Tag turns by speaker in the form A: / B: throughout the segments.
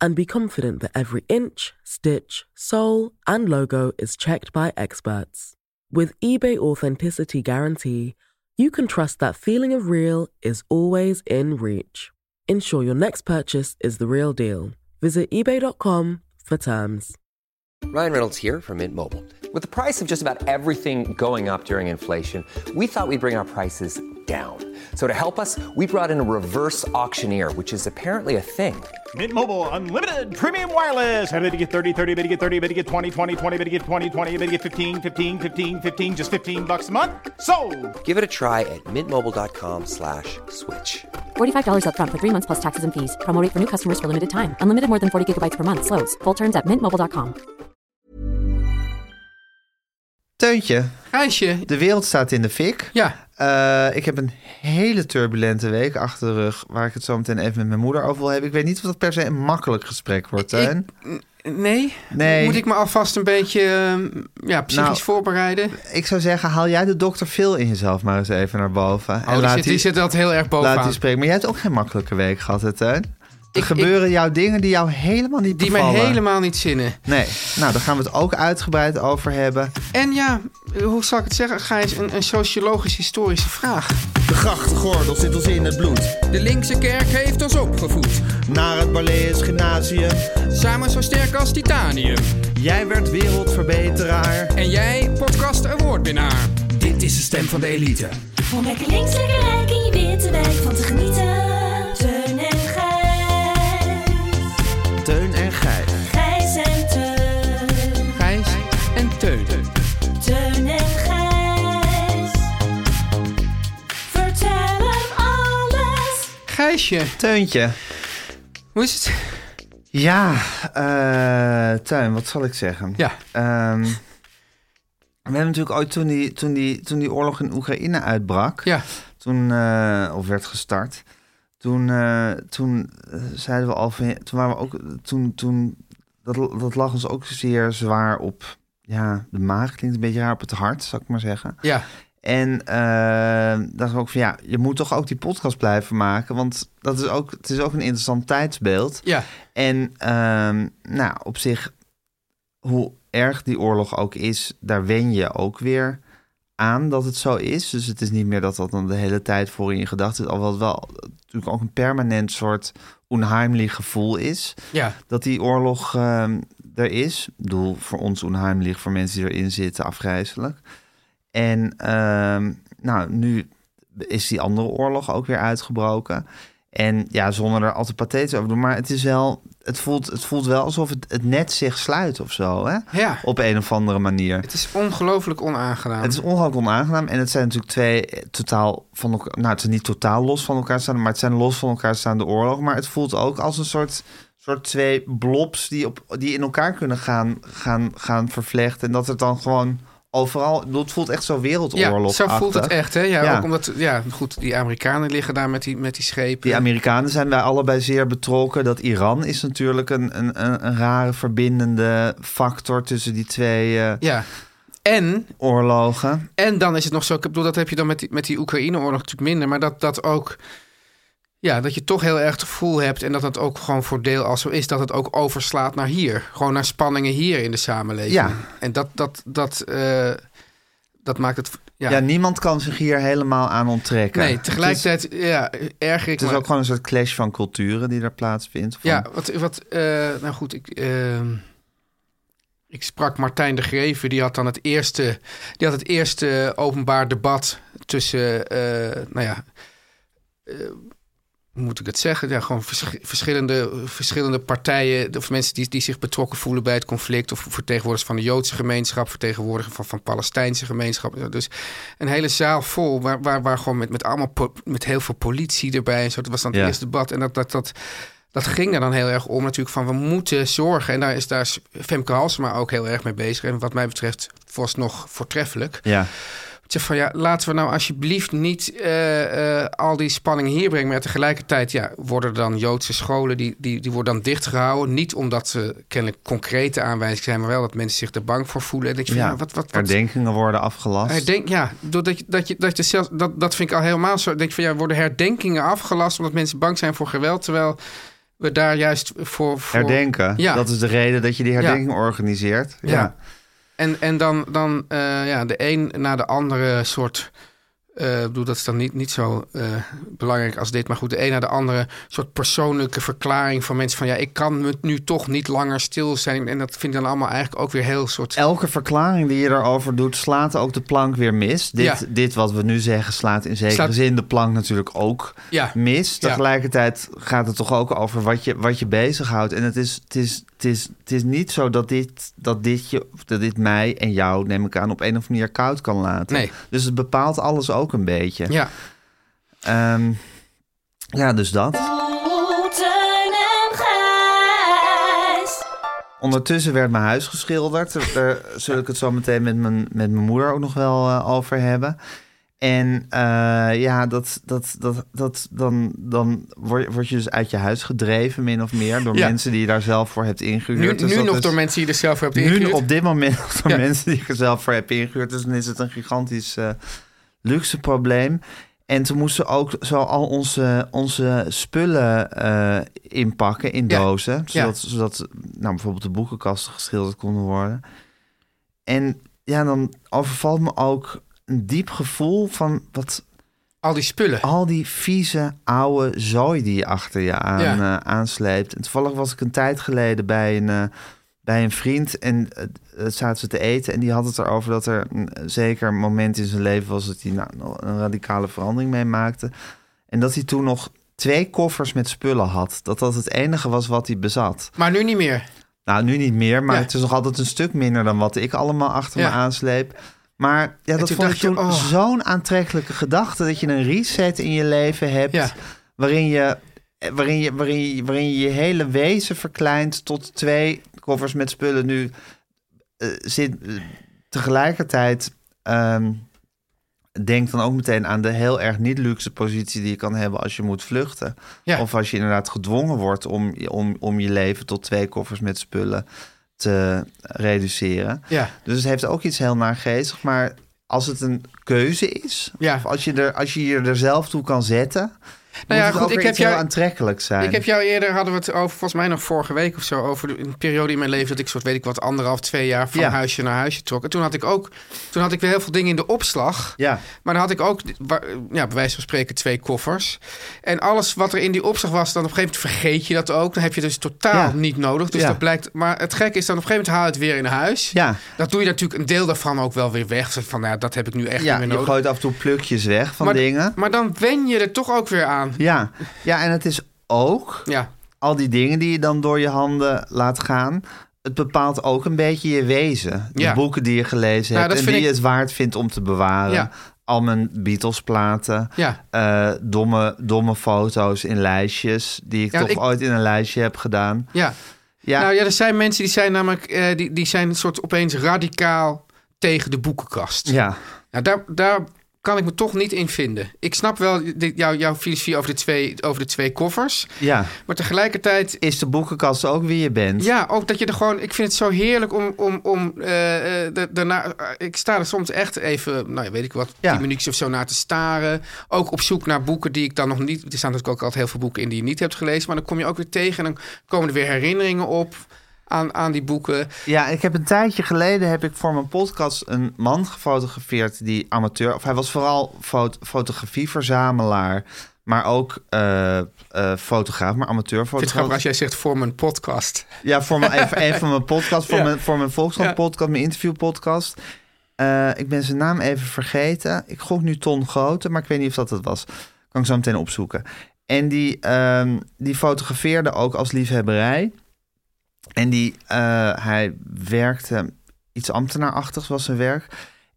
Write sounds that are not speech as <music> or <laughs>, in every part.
A: and be confident that every inch, stitch, sole, and logo is checked by experts. With eBay Authenticity Guarantee, you can trust that feeling of real is always in reach. Ensure your next purchase is the real deal. Visit eBay.com for terms.
B: Ryan Reynolds here from Mint Mobile. With the price of just about everything going up during inflation, we thought we'd bring our prices down. So to help us, we brought in a reverse auctioneer, which is apparently a thing.
C: Mint Mobile unlimited premium wireless. Ready to get 30, 30, bit get 30, bit get 20, 20, 20, bit get 20, 20, bit get 15, 15, 15, 15 just 15 bucks a month. So,
B: Give it a try at mintmobile.com slash switch.
D: $45 upfront for three months plus taxes and fees. Promo rate for new customers for limited time. Unlimited more than 40 gigabytes per month. Slows. Full terms at mintmobile.com.
E: Teuntje,
F: Gijsje,
E: de wereld staat in de fik.
F: ja,
E: Eh, ik heb een hele turbulente week achter de rug... waar ik het zo meteen even met mijn moeder over wil hebben. Ik weet niet of dat per se een makkelijk gesprek wordt, Teun.
F: Ik- nee.
E: Nee.
F: Moet ik me alvast een beetje ehm, ja, psychisch
E: Nou,
F: voorbereiden?
E: Ik zou zeggen, haal jij de dokter Phil in jezelf maar eens even naar boven.
F: Oh, die, zit, die zit dat heel erg bovenaan.
E: laat die spreken. Maar jij hebt ook geen makkelijke week gehad, hè, Teun? Er
F: Ik-
E: gebeuren jouw dingen die jou helemaal niet
F: die mij
E: bevallen.
F: helemaal niet zinnen.
E: Nee, nou, daar gaan we het ook uitgebreid over hebben.
F: En ja, hoe zal ik het zeggen, Gijs? Een, een sociologisch-historische vraag.
G: De grachtengordel zit ons in het bloed.
H: De linkse kerk heeft ons opgevoed,
G: Naar het Barlees Gymnasium.
H: samen zo sterk als titanium.
G: Jij werd wereldverbeteraar.
H: En jij, podcast awardwinnaar. Dit is de stem van de elite.
I: Om lekker links, lekker rijk in je witte wijk van te genieten. Teun en Gijs.
G: Teun en Gijs.
I: Gijs en Teun.
H: Gijs en Teun.
I: Teun en Gijs. Vertel hem alles.
F: Gijsje,
E: Teuntje.
F: hoe is het?
E: Ja, eh Teun, wat zal ik zeggen?
F: Ja,
E: Ehm, we hebben natuurlijk ooit toen die, toen, die, toen die oorlog in Oekraïne uitbrak,
F: ja.
E: toen, eh, of werd gestart, toen, eh, toen eh, zeiden we al van, ja, toen waren we ook, toen, toen dat, dat lag ons ook zeer zwaar op, ja, de maag klinkt een beetje raar, op het hart, zal ik maar zeggen.
F: ja.
E: En eh dachten we ook van, ja, je moet toch ook die podcast blijven maken, want dat is ook, het is ook een interessant tijdsbeeld.
F: Ja,
E: En ehm, nou, op zich, hoe erg die oorlog ook is, daar wen je ook weer aan dat het zo is. Dus het is niet meer dat dat dan de hele tijd voor je in gedachten is. Alhoewel het wel natuurlijk ook een permanent soort onheimlich gevoel is
F: ja.
E: dat die oorlog ehm, er is. Ik bedoel, voor ons onheimlich, voor mensen die erin zitten, afgrijzelijk. En ehm, nou, nu is die andere oorlog ook weer uitgebroken. En ja, zonder er altijd pathetisch over te doen. Maar het is wel, het voelt, het voelt wel alsof het, het net zich sluit of zo. Hè?
F: Ja.
E: Op een of andere manier.
F: Het is ongelooflijk onaangenaam.
E: Het is ongelooflijk onaangenaam. En het zijn natuurlijk twee eh, totaal van elkaar. Nou, het zijn niet totaal los van elkaar staan, maar het zijn los van elkaar staande oorlogen. Maar het voelt ook als een soort, soort twee blobs die, op, die in elkaar kunnen gaan, gaan, gaan vervlechten. En dat het dan gewoon overal. ik bedoel, Het voelt echt zo
F: ja,
E: wereldoorlog.
F: zo voelt het echt, hè? Ja,
E: Ja.
F: Ook omdat, ja, goed, die Amerikanen liggen daar met die, met die schepen.
E: Die Amerikanen zijn wij allebei zeer betrokken. Dat Iran is natuurlijk een, een, een, een rare verbindende factor tussen die twee eh,
F: Ja. En
E: oorlogen.
F: En dan is het nog zo, ik bedoel, dat heb je dan met die, met die Oekraïne-oorlog natuurlijk minder, maar dat, dat ook, ja, dat je toch heel erg het gevoel hebt en dat dat ook gewoon voor deel als zo is, dat het ook overslaat naar hier. Gewoon naar spanningen hier in de samenleving.
E: Ja.
F: En dat, dat, dat, eh, dat maakt het, ja.
E: Ja. niemand kan zich hier helemaal aan onttrekken.
F: nee,
E: Het is-
F: tegelijkertijd, ja, erger ik
E: Het is
F: me-
E: ook gewoon een soort clash van culturen die daar plaatsvindt. Van-
F: Ja, wat, wat eh, nou goed, ik, eh, ik sprak Martijn de Greve, die had dan het eerste, die had het eerste openbaar debat tussen, eh, nou ja, eh, hoe moet ik het zeggen? Ja, gewoon vers- verschillende, verschillende partijen, of mensen die, die zich betrokken voelen bij het conflict, of vertegenwoordigers van de Joodse gemeenschap, vertegenwoordigers van, van Palestijnse gemeenschap. Dus een hele zaal vol, waar, waar, waar gewoon met, met allemaal po- met heel veel politie erbij en zo. Dat was dan het
E: Ja.
F: eerste debat. En dat, dat, dat, dat ging er dan heel erg om natuurlijk van we moeten zorgen. En daar is daar is Femke Halsema ook heel erg mee bezig. En wat mij betreft vooralsnog voortreffelijk.
E: Ja.
F: Ik zeg van ja, laten we nou alsjeblieft niet eh, eh, al die spanning hier brengen. Maar tegelijkertijd ja, worden er dan Joodse scholen, die, die, die worden dan dichtgehouden. Niet omdat ze kennelijk concrete aanwijzingen zijn, maar wel dat mensen zich er bang voor voelen. En dat je van, ja, wat, wat, wat,
E: Herdenkingen worden afgelast.
F: Herdenk, ja, doordat je, dat je, dat je zelf, dat, dat vind ik al helemaal zo. Denk je van ja, worden herdenkingen afgelast omdat mensen bang zijn voor geweld, terwijl we daar juist voor. voor
E: Herdenken.
F: Ja.
E: Dat is de reden dat je die herdenking organiseert.
F: Ja. En, en dan, dan eh, ja, de een na de andere soort. eh, ik bedoel, dat is dan niet, niet zo eh, belangrijk als dit. Maar goed, de een na de andere soort persoonlijke verklaring van mensen. Van ja, ik kan me nu toch niet langer stil zijn. En dat vind ik dan allemaal eigenlijk ook weer heel soort.
E: Elke verklaring die je daarover doet, slaat ook de plank weer mis. Dit,
F: Ja.
E: dit wat we nu zeggen, slaat in zekere
F: Slaat-
E: zin de plank natuurlijk ook
F: Ja.
E: mis.
F: Ja.
E: Tegelijkertijd gaat het toch ook over wat je, wat je bezighoudt. En het is, het is, het is, het is niet zo dat dit, dat, dit je, dat dit mij en jou, neem ik aan, op een of andere manier koud kan laten.
F: Nee.
E: Dus het bepaalt alles ook een beetje.
F: Ja,
E: Ehm, ja, dus dat.
I: Oh, Teun en Gijs.
E: Ondertussen werd mijn huis geschilderd. Er- Daar zul ik het zo meteen met mijn, met mijn moeder ook nog wel eh, over hebben. En eh, ja, dat, dat, dat, dat, dan, dan word, word je dus uit je huis gedreven, min of meer, door
F: Ja.
E: mensen die je daar zelf voor hebt
F: nu,
E: ingehuurd. Dus
F: nu
E: dat
F: nog
E: is-
F: door mensen die er zelf voor hebben
E: Nu
F: ingehuurd.
E: op dit moment <laughs> nog door
F: Ja.
E: mensen die ik er zelf voor heb ingehuurd. Dus dan is het een gigantisch eh, luxe probleem. En toen moesten we ook zo al onze, onze spullen eh, inpakken in
F: Ja.
E: dozen. Zodat,
F: Ja.
E: zodat nou, bijvoorbeeld de boekenkasten geschilderd konden worden. En ja, dan overvalt me ook een diep gevoel van wat
F: Al die spullen.
E: al die vieze oude zooi die je achter je aan,
F: Ja.
E: eh, aansleept. En toevallig was ik een tijd geleden bij een, eh, bij een vriend en eh, eh, zaten ze te eten. En die had het erover dat er een eh, zeker moment in zijn leven was dat hij nou, een radicale verandering meemaakte. En dat hij toen nog twee koffers met spullen had. Dat dat het enige was wat hij bezat.
F: Maar nu niet meer.
E: Nou, nu niet meer, maar
F: Ja.
E: het is nog altijd een stuk minder dan wat ik allemaal achter
F: Ja.
E: me aansleep. Maar ja, dat
F: toen
E: vond ik
F: dacht je,
E: toen
F: oh.
E: zo'n aantrekkelijke gedachte dat je een reset in je leven hebt,
F: Ja.
E: waarin, je, eh, waarin, je, waarin, je, waarin je je hele wezen verkleint tot twee koffers met spullen. Nu eh, zit eh, tegelijkertijd, ehm, denk dan ook meteen aan de heel erg niet luxe positie die je kan hebben als je moet vluchten.
F: Ja.
E: Of als je inderdaad gedwongen wordt om, om, om je leven tot twee koffers met spullen te reduceren.
F: Ja.
E: Dus het heeft ook iets heel naargeestig. Maar als het een keuze is,
F: Ja. Nou
E: of als je, er, als je je er zelf toe kan zetten, moet
F: ja,
E: het
F: goed,
E: ook
F: ik
E: weer
F: heb
E: iets heel
F: jou-
E: aantrekkelijk zijn.
F: Ik heb jou eerder, hadden we het over, volgens mij nog vorige week of zo, over de- een periode in mijn leven dat ik soort, weet ik wat, anderhalf, twee jaar van
E: Ja.
F: huisje naar huisje trok. En toen had ik ook, toen had ik weer heel veel dingen in de opslag.
E: Ja.
F: Maar dan had ik ook, wa- ja, bij wijze van spreken, twee koffers. En alles wat er in die opslag was, dan op een gegeven moment vergeet je dat ook. Dan heb je dus totaal
E: Ja.
F: niet nodig. Dus
E: Ja.
F: dat blijkt, maar het gekke is dan op een gegeven moment haal je het weer in huis.
E: Ja.
F: Dat doe je natuurlijk een deel daarvan ook wel weer weg. Zo Van, nou, dat heb ik nu echt
E: ja,
F: niet meer
E: je
F: nodig.
E: gooit af en toe plukjes weg van
F: maar,
E: dingen.
F: maar dan wen je er toch ook weer aan.
E: Ja. ja, en het is ook
F: Ja,
E: al die dingen die je dan door je handen laat gaan. Het bepaalt ook een beetje je wezen. De
F: Ja.
E: boeken die je gelezen
F: Nou,
E: hebt
F: dat
E: en
F: vind
E: die je
F: ik-
E: het waard vindt om te bewaren.
F: Ja.
E: Al mijn Beatles-platen,
F: Ja.
E: eh, domme, domme foto's in lijstjes... die ik
F: Ja,
E: toch
F: ik-
E: ooit in een lijstje heb gedaan.
F: ja.
E: Ja,
F: Nou ja, er zijn mensen die zijn namelijk eh, die, die zijn een soort opeens radicaal tegen de boekenkast.
E: ja.
F: Nou, daar, daar kan ik me toch niet in vinden. Ik snap wel dit- jou, jouw filosofie over de, twee, over de twee koffers.
E: ja.
F: Maar tegelijkertijd.
E: Is de boekenkast ook wie je bent?
F: Ja, ook dat je er gewoon. Ik vind het zo heerlijk om. om, om eh, eh, da- daarna, eh, ik sta er soms echt even, nou ja, weet ik wat,
E: Ja.
F: 10 minuutjes of zo naar te staren. Ook op zoek naar boeken die ik dan nog niet. Er staan natuurlijk ook altijd heel veel boeken in die je niet hebt gelezen. Maar dan kom je ook weer tegen en dan komen er weer herinneringen op aan, aan die boeken.
E: Ja, ik heb een tijdje geleden heb ik voor mijn podcast een man gefotografeerd die amateur, of hij was vooral fot fotografieverzamelaar, maar ook eh, eh, fotograaf, maar
F: Ik vind het
E: amateurfotograaf.
F: grappig als jij zegt voor mijn podcast.
E: Ja, voor mijn, even, een van mijn podcast, voor,
F: <laughs> Ja.
E: mijn, voor mijn Volkskrant
F: Ja.
E: podcast, mijn interviewpodcast. Eh, ik ben zijn naam even vergeten. Ik gok nu Ton Grote, maar ik weet niet of dat het was. Kan ik zo meteen opzoeken. En die, ehm, die fotografeerde ook als liefhebberij. En die, eh, hij werkte iets ambtenaarachtigs was zijn werk.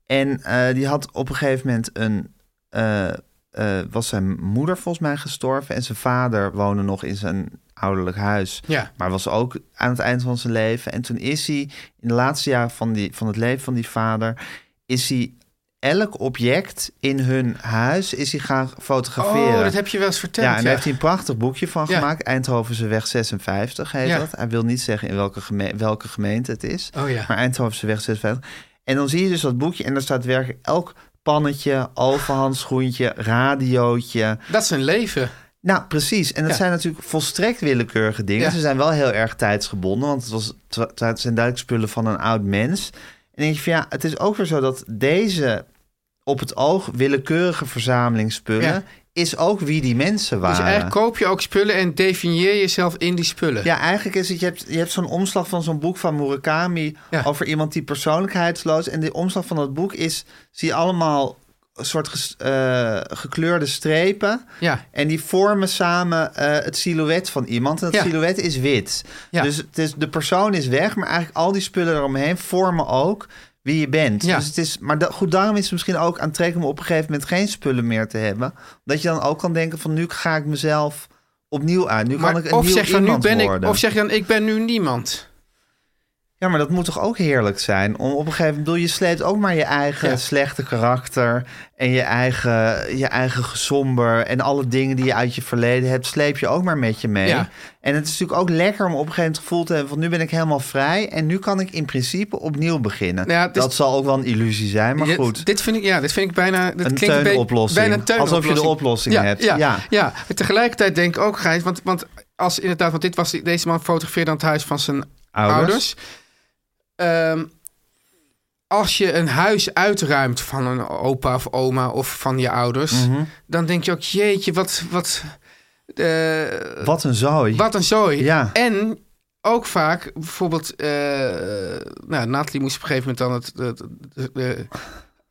E: En eh, die had op een gegeven moment een. eh, eh, was zijn moeder volgens mij gestorven en zijn vader woonde nog in zijn ouderlijk huis.
F: Ja.
E: Maar was ook aan het eind van zijn leven. En toen is hij in de laatste jaren van, die, van het leven van die vader... is hij elk object in hun huis is hij gaan fotograferen.
F: Oh, dat heb je wel eens verteld.
E: Ja, en daar
F: ja.
E: heeft hij een prachtig boekje van
F: Ja.
E: gemaakt. Eindhovense weg 56 heet
F: Ja.
E: dat. Hij wil niet zeggen in welke, geme- welke gemeente het is.
F: Oh ja.
E: Maar Eindhovense weg 56. En dan zie je dus dat boekje en daar staat werkelijk elk pannetje, overhandschoentje, radiootje.
F: Dat is een leven. Dus
E: Nou, precies. En dat
F: Ja.
E: zijn natuurlijk volstrekt willekeurige dingen.
F: Ja.
E: Ze zijn wel heel erg tijdsgebonden, want het, was, het wa- het zijn duidelijk spullen van een oud mens. En dan denk je van ja, het is ook weer zo dat deze op het oog willekeurige verzameling spullen...
F: Ja.
E: is ook wie die mensen waren.
F: Dus eigenlijk koop je ook spullen en definieer jezelf in die spullen.
E: eh? Ja, eigenlijk is het, je hebt, je hebt zo'n omslag van zo'n boek van Murakami
F: Ja.
E: over iemand die persoonlijkheidsloos. En de omslag van dat boek is, zie je allemaal een soort ges- eh, gekleurde strepen.
F: Ja.
E: En die vormen samen eh, het silhouet van iemand. En dat
F: Ja.
E: silhouet is wit.
F: Ja.
E: Dus het is, de persoon is weg, maar eigenlijk al die spullen eromheen vormen ook wie je bent.
F: Ja.
E: Dus het is, maar da- goed, daarom is het misschien ook aantrekkelijk om op een gegeven moment geen spullen meer te hebben. Dat je dan ook kan denken van nu ga ik mezelf opnieuw aan. Nu kan
F: Maar
E: ik een
F: of
E: nieuw
F: zeg, dan, nu
E: iemand
F: ben ik,
E: worden.
F: of zeg dan, ik ben nu niemand.
E: Ja, maar dat moet toch ook heerlijk zijn? Om op een gegeven moment, bedoel, je sleept ook maar je eigen
F: Ja.
E: slechte karakter en je eigen, je eigen gezomber en alle dingen die je uit je verleden hebt, sleep je ook maar met je mee.
F: Ja.
E: En het is natuurlijk ook lekker om op een gegeven moment het gevoel te hebben van nu ben ik helemaal vrij en nu kan ik in principe opnieuw beginnen.
F: Nou ja, het is-
E: Dat zal ook wel een illusie zijn, maar
F: Ja,
E: goed.
F: Dit vind ik, ja, dit vind ik bijna... Dit
E: Een
F: klinkt een beetje-
E: teunoplossing.
F: Bijna een teunoplossing.
E: Alsof je de oplossing
F: ja,
E: hebt.
F: Ja, ja.
E: Ja.
F: Maar tegelijkertijd denk ik ook, Gijs, want, want als inderdaad, want dit was, deze man fotografeerde aan het huis van zijn ouders. Ehm, als je een huis uitruimt van een opa of oma of van je ouders,
E: Mhm.
F: dan denk je ook, jeetje, wat, wat, eh,
E: Wat een zooi.
F: wat een zooi.
E: Ja.
F: En ook vaak, bijvoorbeeld, eh nou, Nathalie moest op een gegeven moment dan het, de, de, de,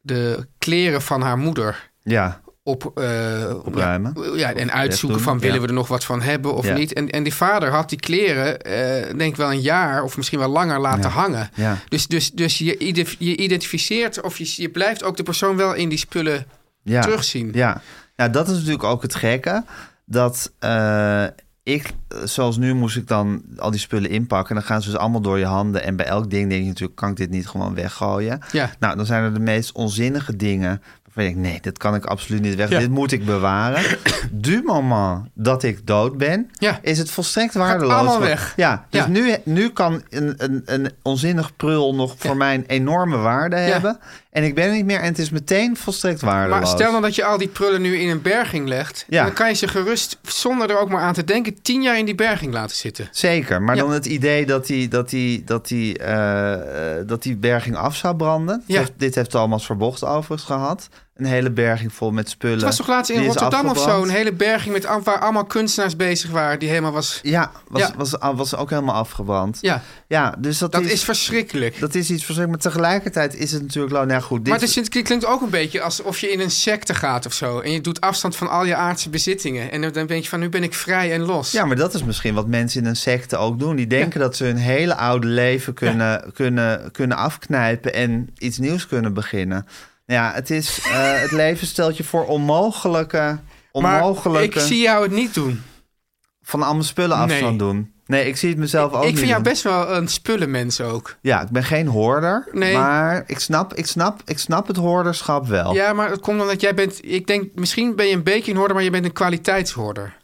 F: de kleren van haar moeder
E: Ja,
F: op, eh,
E: Opruimen.
F: Ja, en uitzoeken
E: Wegdoen,
F: van willen
E: ja.
F: we er nog wat van hebben of
E: Ja.
F: niet. En, en die vader had die kleren, eh, denk ik wel een jaar of misschien wel langer laten hangen.
E: Ja.
F: Dus, dus, dus je, ide- je identificeert of je, je blijft ook de persoon wel in die spullen
E: ja.
F: terugzien.
E: Ja, nou dat is natuurlijk ook het gekke. Dat eh, ik, eh, zoals nu moest ik dan al die spullen inpakken. En dan gaan ze dus allemaal door je handen. En bij elk ding denk je natuurlijk, kan ik dit niet gewoon weggooien?
F: Ja.
E: Nou, dan zijn er de meest onzinnige dingen. Waarvan ik denk, nee, dat kan ik absoluut niet weg.
F: Ja.
E: Dit moet ik
F: <coughs>
E: bewaren. du moment dat ik dood ben,
F: Ja.
E: is het volstrekt waardeloos.
F: allemaal
E: Want-
F: weg.
E: Ja, dus
F: Ja.
E: Nu, nu kan een, een, een onzinnig prul nog voor mij een enorme waarde hebben. En ik ben er niet meer. En het is meteen volstrekt waardeloos.
F: Maar stel dan dat je al die prullen nu in een berging legt.
E: Ja.
F: Dan kan je ze gerust, zonder er ook maar aan te denken, tien jaar in die berging laten zitten.
E: Zeker, maar
F: Ja.
E: dan het idee dat die, dat die, dat die, eh, eh, dat die berging af zou branden.
F: Ja.
E: Dit, dit heeft Thomas Verbocht overigens gehad. Een hele berging vol met spullen.
F: Het was toch laatst in
E: Die is
F: Rotterdam of zo
E: afgebrand.
F: een hele berging met, al- waar allemaal kunstenaars bezig waren. Die helemaal was...
E: Ja, was,
F: Ja.
E: Was, was, ook helemaal afgebrand.
F: Ja,
E: Ja, dus dat,
F: dat
E: is,
F: is verschrikkelijk.
E: dat is iets verschrikkelijks. Maar tegelijkertijd is het natuurlijk... wel- Nou goed, dit,
F: Maar het, is- het klinkt ook een beetje alsof je in een secte gaat of zo. En je doet afstand van al je aardse bezittingen. En dan denk je van, nu ben ik vrij en los.
E: Ja, maar dat is misschien wat mensen in een secte ook doen. Die denken dat ze hun hele oude leven kunnen, kunnen, kunnen afknijpen en iets nieuws kunnen beginnen. Nou Ja, het, is,
F: <laughs>
E: eh, het leven stelt je voor onmogelijke,
F: maar
E: onmogelijke
F: ik zie jou het niet doen.
E: van allemaal spullen afstand
F: Nee.
E: doen. Nee, ik zie het mezelf ook
F: ik
E: niet
F: vind jou
E: doen.
F: best wel een spullenmens ook.
E: Ja, ik ben geen hoorder,
F: Nee.
E: maar ik snap, ik, snap, ik snap het hoorderschap wel.
F: Ja, maar het komt omdat jij bent... Ik denk, misschien ben je een beetje een hoorder, maar je bent een kwaliteitshoorder.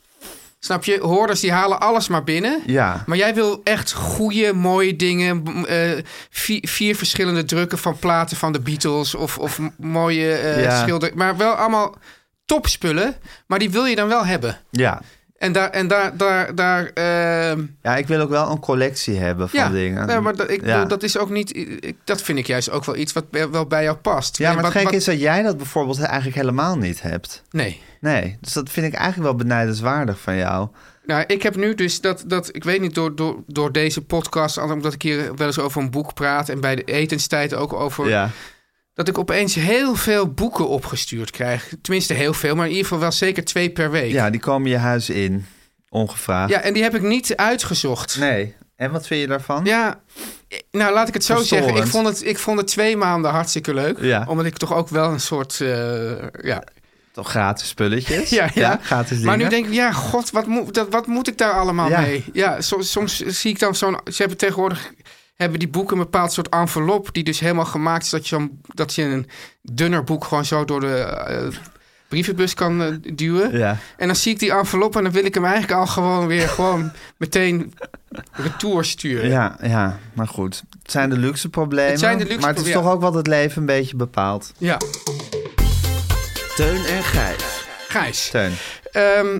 F: Snap je? Hoorders die halen alles maar binnen.
E: Ja.
F: Maar jij wil echt goede, mooie dingen. m- eh, vier, vier verschillende drukken van platen van de Beatles. Of, of m- mooie eh
E: Ja.
F: schilder. Maar wel allemaal topspullen. Maar die wil je dan wel hebben.
E: ja.
F: En daar... En daar, daar, daar ehm,
E: Ja, ik wil ook wel een collectie hebben van
F: ja,
E: dingen.
F: Nee, maar dat, ik,
E: Ja.
F: bedoel, dat is ook niet... ik- dat vind ik juist ook wel iets wat bij- wel bij jou past.
E: Ja, maar
F: Wat-
E: het gekke
F: wat-
E: is dat jij dat bijvoorbeeld eigenlijk helemaal niet hebt.
F: Nee.
E: Nee, dus dat vind ik eigenlijk wel benijdenswaardig van jou.
F: Nou, ik heb nu dus dat, dat ik weet niet, door, door, door deze podcast, omdat ik hier wel eens over een boek praat en bij de etenstijd ook over,
E: Ja.
F: dat ik opeens heel veel boeken opgestuurd krijg. Tenminste, heel veel, maar in ieder geval wel zeker twee per week.
E: ja, die komen je huis in, ongevraagd.
F: Ja, en die heb ik niet uitgezocht.
E: Nee, en wat vind je daarvan?
F: Ja, nou laat ik het zo
E: Verstorend.
F: zeggen. Ik vond het, ik vond het twee maanden hartstikke leuk.
E: Ja.
F: Omdat ik toch ook wel een soort. eh, ja,
E: Toch gratis spulletjes?
F: <laughs> Ja, ja.
E: gratis dingen.
F: Maar nu denk ik, ja, god, wat, moet dat, wat moet ik daar allemaal
E: Ja.
F: mee? Ja, soms, soms zie ik dan zo'n... Ze hebben tegenwoordig hebben die boeken een bepaald soort envelop... die dus helemaal gemaakt is dat je, zo'n- dat je een dunner boek... gewoon zo door de eh, brievenbus kan eh, duwen.
E: Ja.
F: En dan zie ik die envelop en dan wil ik hem eigenlijk al gewoon weer... gewoon meteen retour sturen.
E: Ja, ja, maar goed. Het zijn de luxe problemen.
F: Het zijn de luxe
E: maar het is
F: problemen.
E: toch ook wat het leven een beetje bepaalt.
F: Ja,
G: Teun en Gijs.
F: Gijs.
E: Teun.
F: Ehm,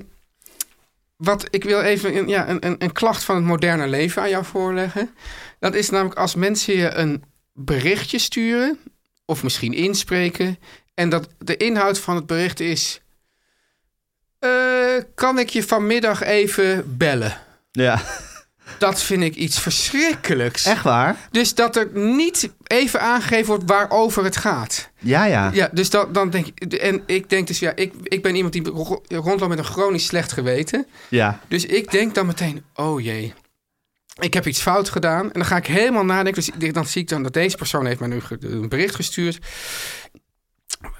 F: wat ik wil even een- ja, een, een, een klacht van het moderne leven aan jou voorleggen. Dat is namelijk als mensen je een berichtje sturen, of misschien inspreken, en dat de inhoud van het bericht is: eh, Kan ik je vanmiddag even bellen?
E: Ja,
F: Dat vind ik iets verschrikkelijks.
E: echt waar?
F: Dus dat er niet even aangegeven wordt waarover het gaat.
E: Ja, ja.
F: Ja, dus dan, dan denk ik. En ik denk dus, ja, ik, ik ben iemand die ro- rondloopt met een chronisch slecht geweten.
E: Ja.
F: Dus ik denk dan meteen, oh jee, ik heb iets fout gedaan. En dan ga ik helemaal nadenken. Dus ik- dan zie ik dan dat deze persoon heeft mij nu ge- een bericht gestuurd.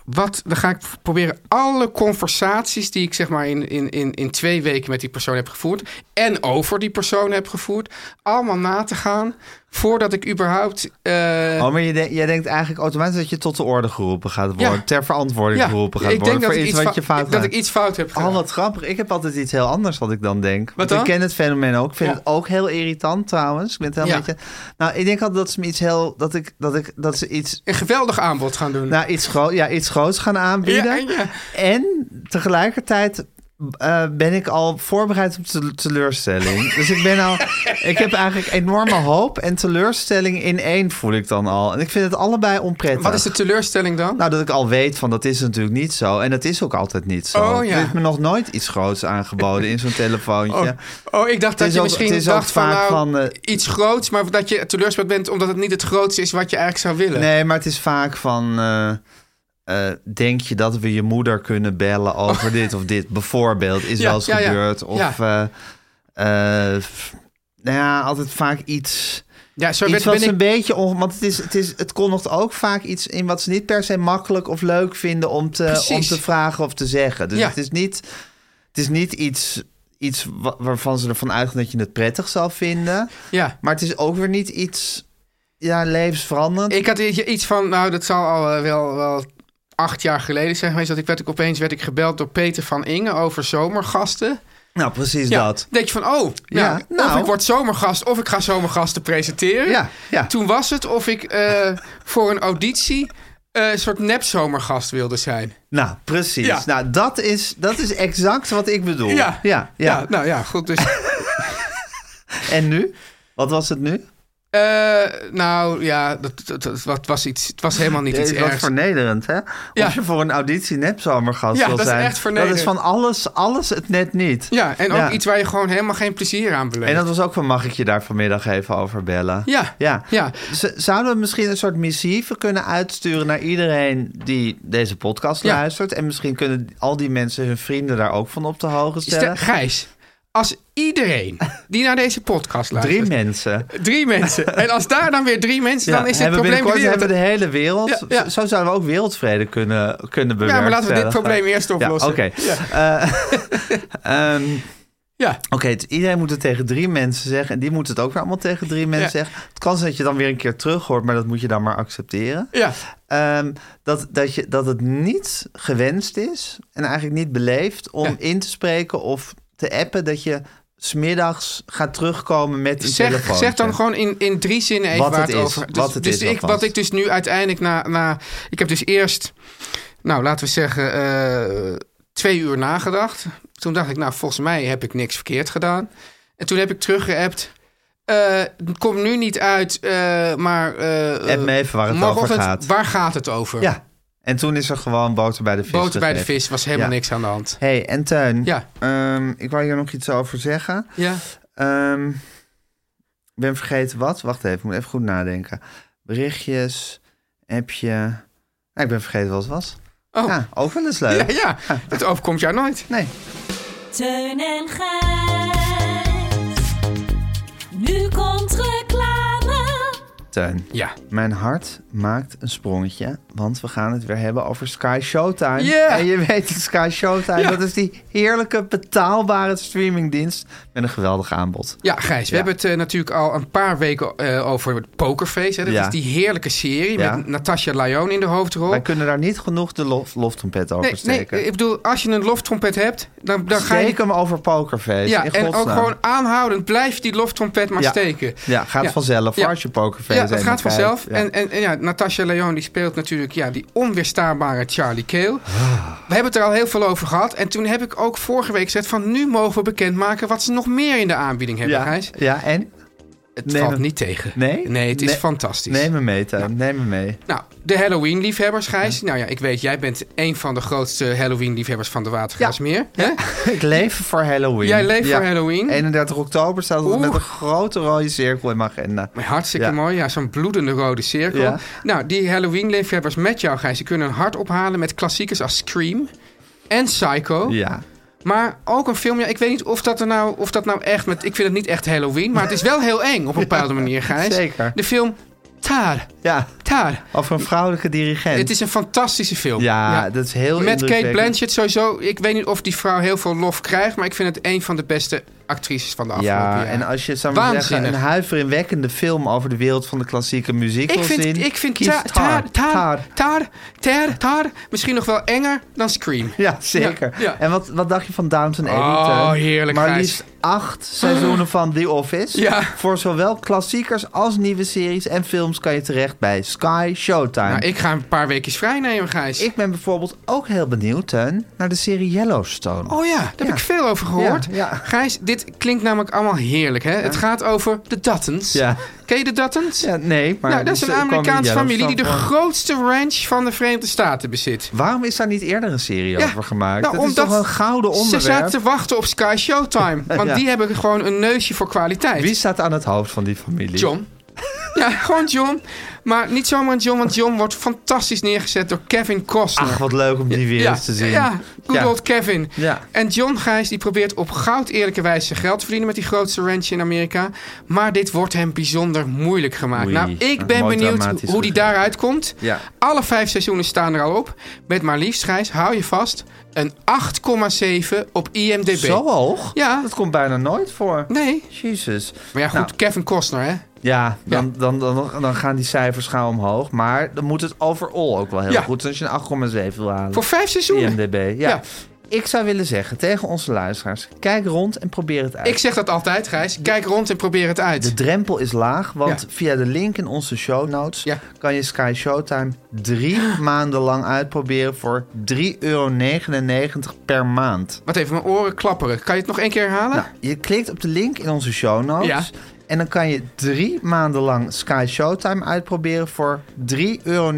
F: Wat, dan ga ik proberen alle conversaties die ik zeg maar in, in, in, in twee weken met die persoon heb gevoerd. En over die persoon heb gevoerd. Allemaal na te gaan voordat ik überhaupt... eh,
E: Oh, maar je denk- jij denkt eigenlijk automatisch dat je tot de orde geroepen gaat worden.
F: Ja.
E: Ter verantwoording geroepen gaat worden voor iets wat
F: fou-
E: je fout
F: dat
E: maakt.
F: ik iets fout heb gedaan.
E: Oh, wat grappig. Ik heb altijd iets heel anders wat ik dan denk. Want
F: dan?
E: Ik ken het fenomeen ook. Ik vind
F: Ja.
E: het ook heel irritant trouwens. Ik ben het helemaal
F: Ja.
E: met je- Nou, ik denk altijd dat ze me iets heel... Dat, ik, dat, ik, dat ze iets...
F: Een geweldig aanbod gaan doen.
E: Nou, iets, gro ja, iets groots gaan aanbieden.
F: Ja, ja.
E: En tegelijkertijd eh, ben ik al voorbereid op te- teleurstelling. dus ik ben al... Ik heb eigenlijk enorme hoop en teleurstelling in één voel ik dan al. En ik vind het allebei onprettig.
F: wat is de teleurstelling dan?
E: Nou, dat ik al weet van dat is natuurlijk niet zo. En dat is ook altijd niet zo.
F: Oh, ja.
E: Er is me nog nooit iets groots aangeboden in
F: <laughs>
E: zo'n telefoontje.
F: Oh, ik
E: Het
F: dacht dat
E: is
F: je
E: ook- het
F: misschien
E: is ook
F: dacht van,
E: vaak
F: nou,
E: van, eh,
F: iets groots, maar dat je teleurgesteld bent omdat het niet het grootste is wat je eigenlijk zou willen.
E: Nee, maar het is vaak van... eh, eh, denk je dat we je moeder kunnen bellen over
F: <laughs>
E: dit of dit? Bijvoorbeeld, is
F: Ja,
E: wel eens
F: ja, ja.
E: gebeurd. Of,
F: Ja.
E: eh, eh, f- nou ja, altijd vaak iets...
F: Ja, zo
E: Iets
F: werd,
E: wat
F: ben
E: ze
F: ik...
E: een beetje... On, want het, is, het, is, het kon nog ook vaak iets in wat ze niet per se makkelijk of leuk vinden... om te, om
F: Precies.
E: te vragen of te zeggen. Dus
F: Ja.
E: het is niet, het is niet iets, iets wa- waarvan ze ervan uitgaan dat je het prettig zal vinden.
F: Ja.
E: Maar het is ook weer niet iets ja, levensveranderend.
F: Ik had i- iets van, nou, dat zal al eh, wel, wel acht jaar geleden zijn geweest, dat ik werd ik opeens werd ik gebeld door Peter van Inge over zomergasten.
E: Nou, precies
F: Ja,
E: dat.
F: denk je van, oh, nou,
E: Ja,
F: of
E: nou.
F: ik word zomergast of ik ga zomergasten presenteren.
E: Ja, ja.
F: Toen was het of ik eh, voor een auditie eh, een soort nep zomergast wilde zijn.
E: Nou, precies.
F: Ja.
E: Nou, dat is, dat is exact wat ik bedoel.
F: Ja.
E: Oh. Ja, ja.
F: nou ja, goed. Dus,
E: En nu? Wat was het nu?
F: eh, nou ja, dat, dat, dat- wat was iets, het was helemaal niet iets
E: Jezus, wat
F: ergs.
E: vernederend, hè?
F: Ja.
E: Als je voor een auditie nepzomergast
F: Ja,
E: wil
F: dat is
E: zijn.
F: echt vernederend.
E: Dat is van alles, alles het net niet.
F: Ja, en ook
E: Ja.
F: iets waar je gewoon helemaal geen plezier aan beleeft.
E: En dat was ook van, mag ik je daar vanmiddag even over bellen?
F: Ja,
E: Ja.
F: ja.
E: Z- Zouden we misschien een soort missieve kunnen uitsturen naar iedereen die deze podcast
F: Ja.
E: luistert? En misschien kunnen al die mensen hun vrienden daar ook van op de hoogte
F: Stel-
E: stellen?
F: Gijs, als iedereen die naar deze podcast luistert...
E: Drie mensen.
F: Drie mensen. En als daar dan weer drie mensen, Dus dan is het
E: hebben we
F: probleem
E: binnenkort
F: weer...
E: hebben we de hele wereld.
F: Ja, ja.
E: Zo- Zo zouden we ook wereldvrede kunnen, kunnen
F: Ja,
E: bewerkstelligen.
F: maar laten we dit probleem eerst oplossen.
E: Ja, Oké.
F: Ja.
E: Eh, ehm,
F: Ja.
E: Oké, het- iedereen moet het tegen drie mensen zeggen. En die moeten het ook weer allemaal tegen drie mensen
F: Ja.
E: zeggen. Het kan zijn dat je dan weer een keer terug hoort, maar dat moet je dan maar accepteren.
F: Ja.
E: Ehm, dat, dat, je, dat het niet gewenst is en eigenlijk niet beleefd om
F: Ja.
E: in te spreken of te appen dat je smiddags gaat terugkomen met een
F: Zeg,
E: telefoon.
F: zeg dan gewoon in, in drie zinnen even
E: Wat
F: waar
E: het
F: het
E: is,
F: over Dus,
E: wat het
F: dus
E: is
F: ik,
E: alvast.
F: wat ik dus nu uiteindelijk na, na... Ik heb dus eerst, nou laten we zeggen, eh, twee uur nagedacht. Toen dacht ik, nou volgens mij heb ik niks verkeerd gedaan. En toen heb ik teruggeappt. eh, Het komt nu niet uit, eh, maar... eh,
E: App me even waar het
F: morgenochtend,
E: over gaat.
F: Waar gaat het over?
E: Ja. En toen is er gewoon boter bij de vis.
F: Boter bij de
E: gegeven.
F: vis, was helemaal
E: Ja.
F: niks aan de hand.
E: hey, en Teun.
F: Ja.
E: Ehm, ik wou hier nog iets over zeggen.
F: Ja,
E: Ehm, Ik ben vergeten wat. Wacht even, ik moet even goed nadenken. Berichtjes, appje. Nou, ik ben vergeten wat het was.
F: Oh.
E: Ja, ook wel eens leuk.
F: ja, ja.
E: <laughs>
F: dat overkomt jou nooit.
E: Nee.
I: Teun en Gijs. Nu komt reclame.
E: Teun,
F: Ja.
E: mijn hart maakt een sprongetje, want we gaan het weer hebben over Sky Showtime.
F: Ja!
E: En je weet het, Sky Showtime,
F: Ja.
E: dat is die heerlijke betaalbare streamingdienst met een geweldig aanbod.
F: Ja, Gijs, we
E: Ja.
F: hebben het eh, natuurlijk al een paar weken eh, over het Pokerface. Hè? Dat
E: Ja.
F: is die heerlijke serie
E: Ja.
F: met Natasha Lyon in de hoofdrol.
E: Wij kunnen daar niet genoeg de lof, loftrompet over
F: nee, nee,
E: steken.
F: ik bedoel, als je een loftrompet hebt, dan, dan ga je...
E: Steek hem over Pokerface,
F: Ja,
E: in
F: en ook
E: godsnaam.
F: gewoon aanhoudend blijf die loftrompet maar
E: Ja.
F: steken.
E: Ja, gaat
F: Ja.
E: vanzelf,
F: Ja.
E: als je Pokerface
F: Ja, dat
E: eenmaal
F: gaat
E: kijkt.
F: vanzelf.
E: Ja.
F: En, en, en ja, Natasha Leon die speelt natuurlijk ja, die onweerstaanbare Charlie Kale.
E: Ah.
F: We hebben het er al heel veel over gehad. En toen heb ik ook vorige week gezegd van... nu mogen we bekendmaken wat ze nog meer in de aanbieding hebben,
E: ja.
F: Gijs.
E: ja, en?
F: Het
E: Neem
F: valt
E: hem.
F: niet tegen.
E: Nee?
F: Nee, het is
E: Nee.
F: fantastisch.
E: Neem me mee, Teun, neem me mee.
F: Nou, de Halloween-liefhebbers, Gijs. Nou ja, ik weet, jij bent een van de grootste Halloween-liefhebbers van de Watergraafsmeer. hè?
E: <laughs> Ik leef voor Halloween.
F: Jij leeft voor Halloween?
E: 31 oktober staat het met
F: Oeh.
E: een grote rode cirkel in mijn agenda.
F: Maar Hartstikke
E: Ja.
F: mooi, ja, zo'n bloedende rode cirkel.
E: Ja.
F: Nou, die Halloween-liefhebbers met jou, Gijs, die kunnen een hart ophalen met klassiekers als Scream en Psycho.
E: Ja.
F: Maar ook een film, ja, ik weet niet of dat, er nou, of dat nou echt... Met, ik vind het niet echt Halloween, maar het is wel heel
E: <laughs>
F: eng op een bepaalde manier, Gijs.
E: zeker.
F: De film Tar,
E: ja,
F: Tar.
E: over een vrouwelijke dirigent.
F: Het is een fantastische film.
E: ja, dat is heel
F: Met Kate
E: indrukwekkend.
F: Blanchett sowieso. Ik weet niet of die vrouw heel veel lof krijgt, maar ik vind het een van de beste actrices van de afgelopen
E: Ja,
F: jaren.
E: en als je zou maar zeggen, een
F: Waanzinnig.
E: huiveringwekkende film over de wereld van de klassieke muziek
F: Ik
E: wil
F: vind,
E: zien,
F: ik vind
E: kies
F: tar,
E: Tar.
F: tar, tar,
E: Tar.
F: tar, tar, tar misschien nog wel enger dan Scream.
E: <laughs> Ja, zeker.
F: Ja, ja.
E: En wat, wat dacht je van Downton Abbey?
F: Oh,
E: Teun?
F: heerlijk,
E: Maar
F: Gijs.
E: liefst acht seizoenen van The Office.
F: Ja.
E: Voor zowel klassiekers als nieuwe series en films kan je terecht bij Sky Showtime.
F: Nou, ik ga een paar weekjes vrij nemen, Gijs.
E: Ik ben bijvoorbeeld ook heel benieuwd, Teun, naar de serie Yellowstone.
F: Oh ja, daar
E: Ja.
F: heb ik veel over gehoord.
E: Ja, ja.
F: Gijs, dit klinkt namelijk allemaal heerlijk, hè? Het gaat over de Duttons.
E: Ja.
F: Ken je de Duttons?
E: Ja, nee, maar...
F: nou, dat is
E: dus
F: een
E: er kwam
F: Amerikaanse familie die de
E: Yellowstone voor.
F: grootste ranch van de Verenigde Staten bezit.
E: Waarom is daar niet eerder een serie
F: Ja,
E: over gemaakt?
F: nou,
E: dat is
F: omdat
E: toch een gouden
F: Ze
E: onderwerp?
F: zaten te wachten op Sky
E: <laughs>
F: Showtime. Want
E: Ja.
F: die hebben gewoon een neusje voor kwaliteit.
E: Wie staat aan het hoofd van die familie?
F: John. Ja, gewoon John. Maar niet zomaar een John, want John wordt fantastisch neergezet door Kevin Costner.
E: Ach, wat leuk om die weer
F: ja,
E: eens te zien.
F: ja, good
E: Ja.
F: old Kevin.
E: Ja.
F: En John Gijs die probeert op goud eerlijke wijze zijn geld te verdienen met die grootste ranch in Amerika. Maar dit wordt hem bijzonder moeilijk gemaakt.
E: Oei,
F: nou, ik
E: een
F: ben
E: mooi
F: benieuwd
E: dramatisch
F: hoe die
E: begin.
F: daaruit komt.
E: Ja.
F: Alle vijf seizoenen staan er al op. Met maar liefst, Gijs, hou je vast, een 8,7 op IMDb.
E: Zo hoog?
F: Ja.
E: Dat komt bijna nooit voor.
F: Nee.
E: Jezus.
F: Maar ja, goed,
E: Nou,
F: Kevin Costner, hè?
E: ja, dan,
F: Ja.
E: Dan, dan, dan, gaan die cijfers gauw omhoog. Maar dan moet het overal ook wel heel
F: Ja.
E: goed zijn als je een 8,7 wil halen.
F: Voor vijf seizoenen.
E: IMDb, ja.
F: Ja.
E: Ik zou willen zeggen tegen onze luisteraars, kijk rond en probeer het uit.
F: Ik zeg dat altijd, Gijs. Kijk rond en probeer het uit.
E: De drempel is laag, want
F: Ja.
E: via de link in onze show notes
F: Ja.
E: kan je Sky Showtime drie
F: <gasps>
E: maanden lang uitproberen voor 3,99 euro per maand.
F: Wat even, mijn oren klapperen. Kan je het nog één keer herhalen?
E: Nou, je klikt op de link in onze show notes.
F: Ja.
E: En dan kan je drie maanden lang Sky Showtime uitproberen voor 3,99 euro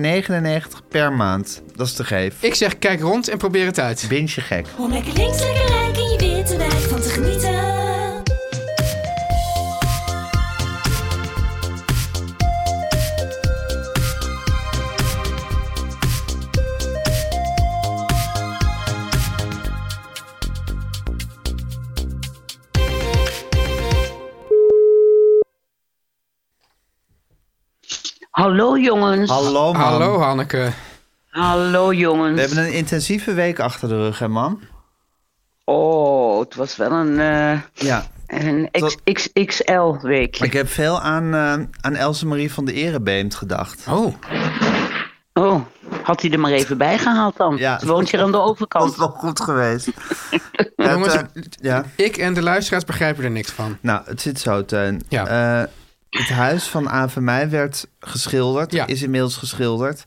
E: per maand. Dat is te geef.
F: Ik zeg kijk rond en probeer het uit.
E: Binge je gek.
I: Om lekker links, lekker rijk in je witte wijk van te genieten.
J: Hallo jongens.
E: Hallo man.
F: Hallo Hanneke.
J: Hallo jongens.
E: We hebben een intensieve week achter de rug, hè man?
J: Oh, het was wel een, eh,
E: Ja.
J: een
E: Tot-
J: XXL weekje.
E: Ik heb veel aan, eh, aan Else Marie van de Erebeemd gedacht.
F: Oh,
J: Oh, had hij er maar even bij gehaald dan?
E: Ja.
J: Ze woont hier aan de
E: Dat is
J: overkant.
E: wel goed geweest. Het,
F: <laughs> Jongens,
E: eh, ja.
F: ik en de luisteraars begrijpen er niks van.
E: Nou, het zit zo, Teun.
F: Ja.
E: Eh, het huis van A van Mij werd geschilderd,
F: Ja.
E: is inmiddels geschilderd.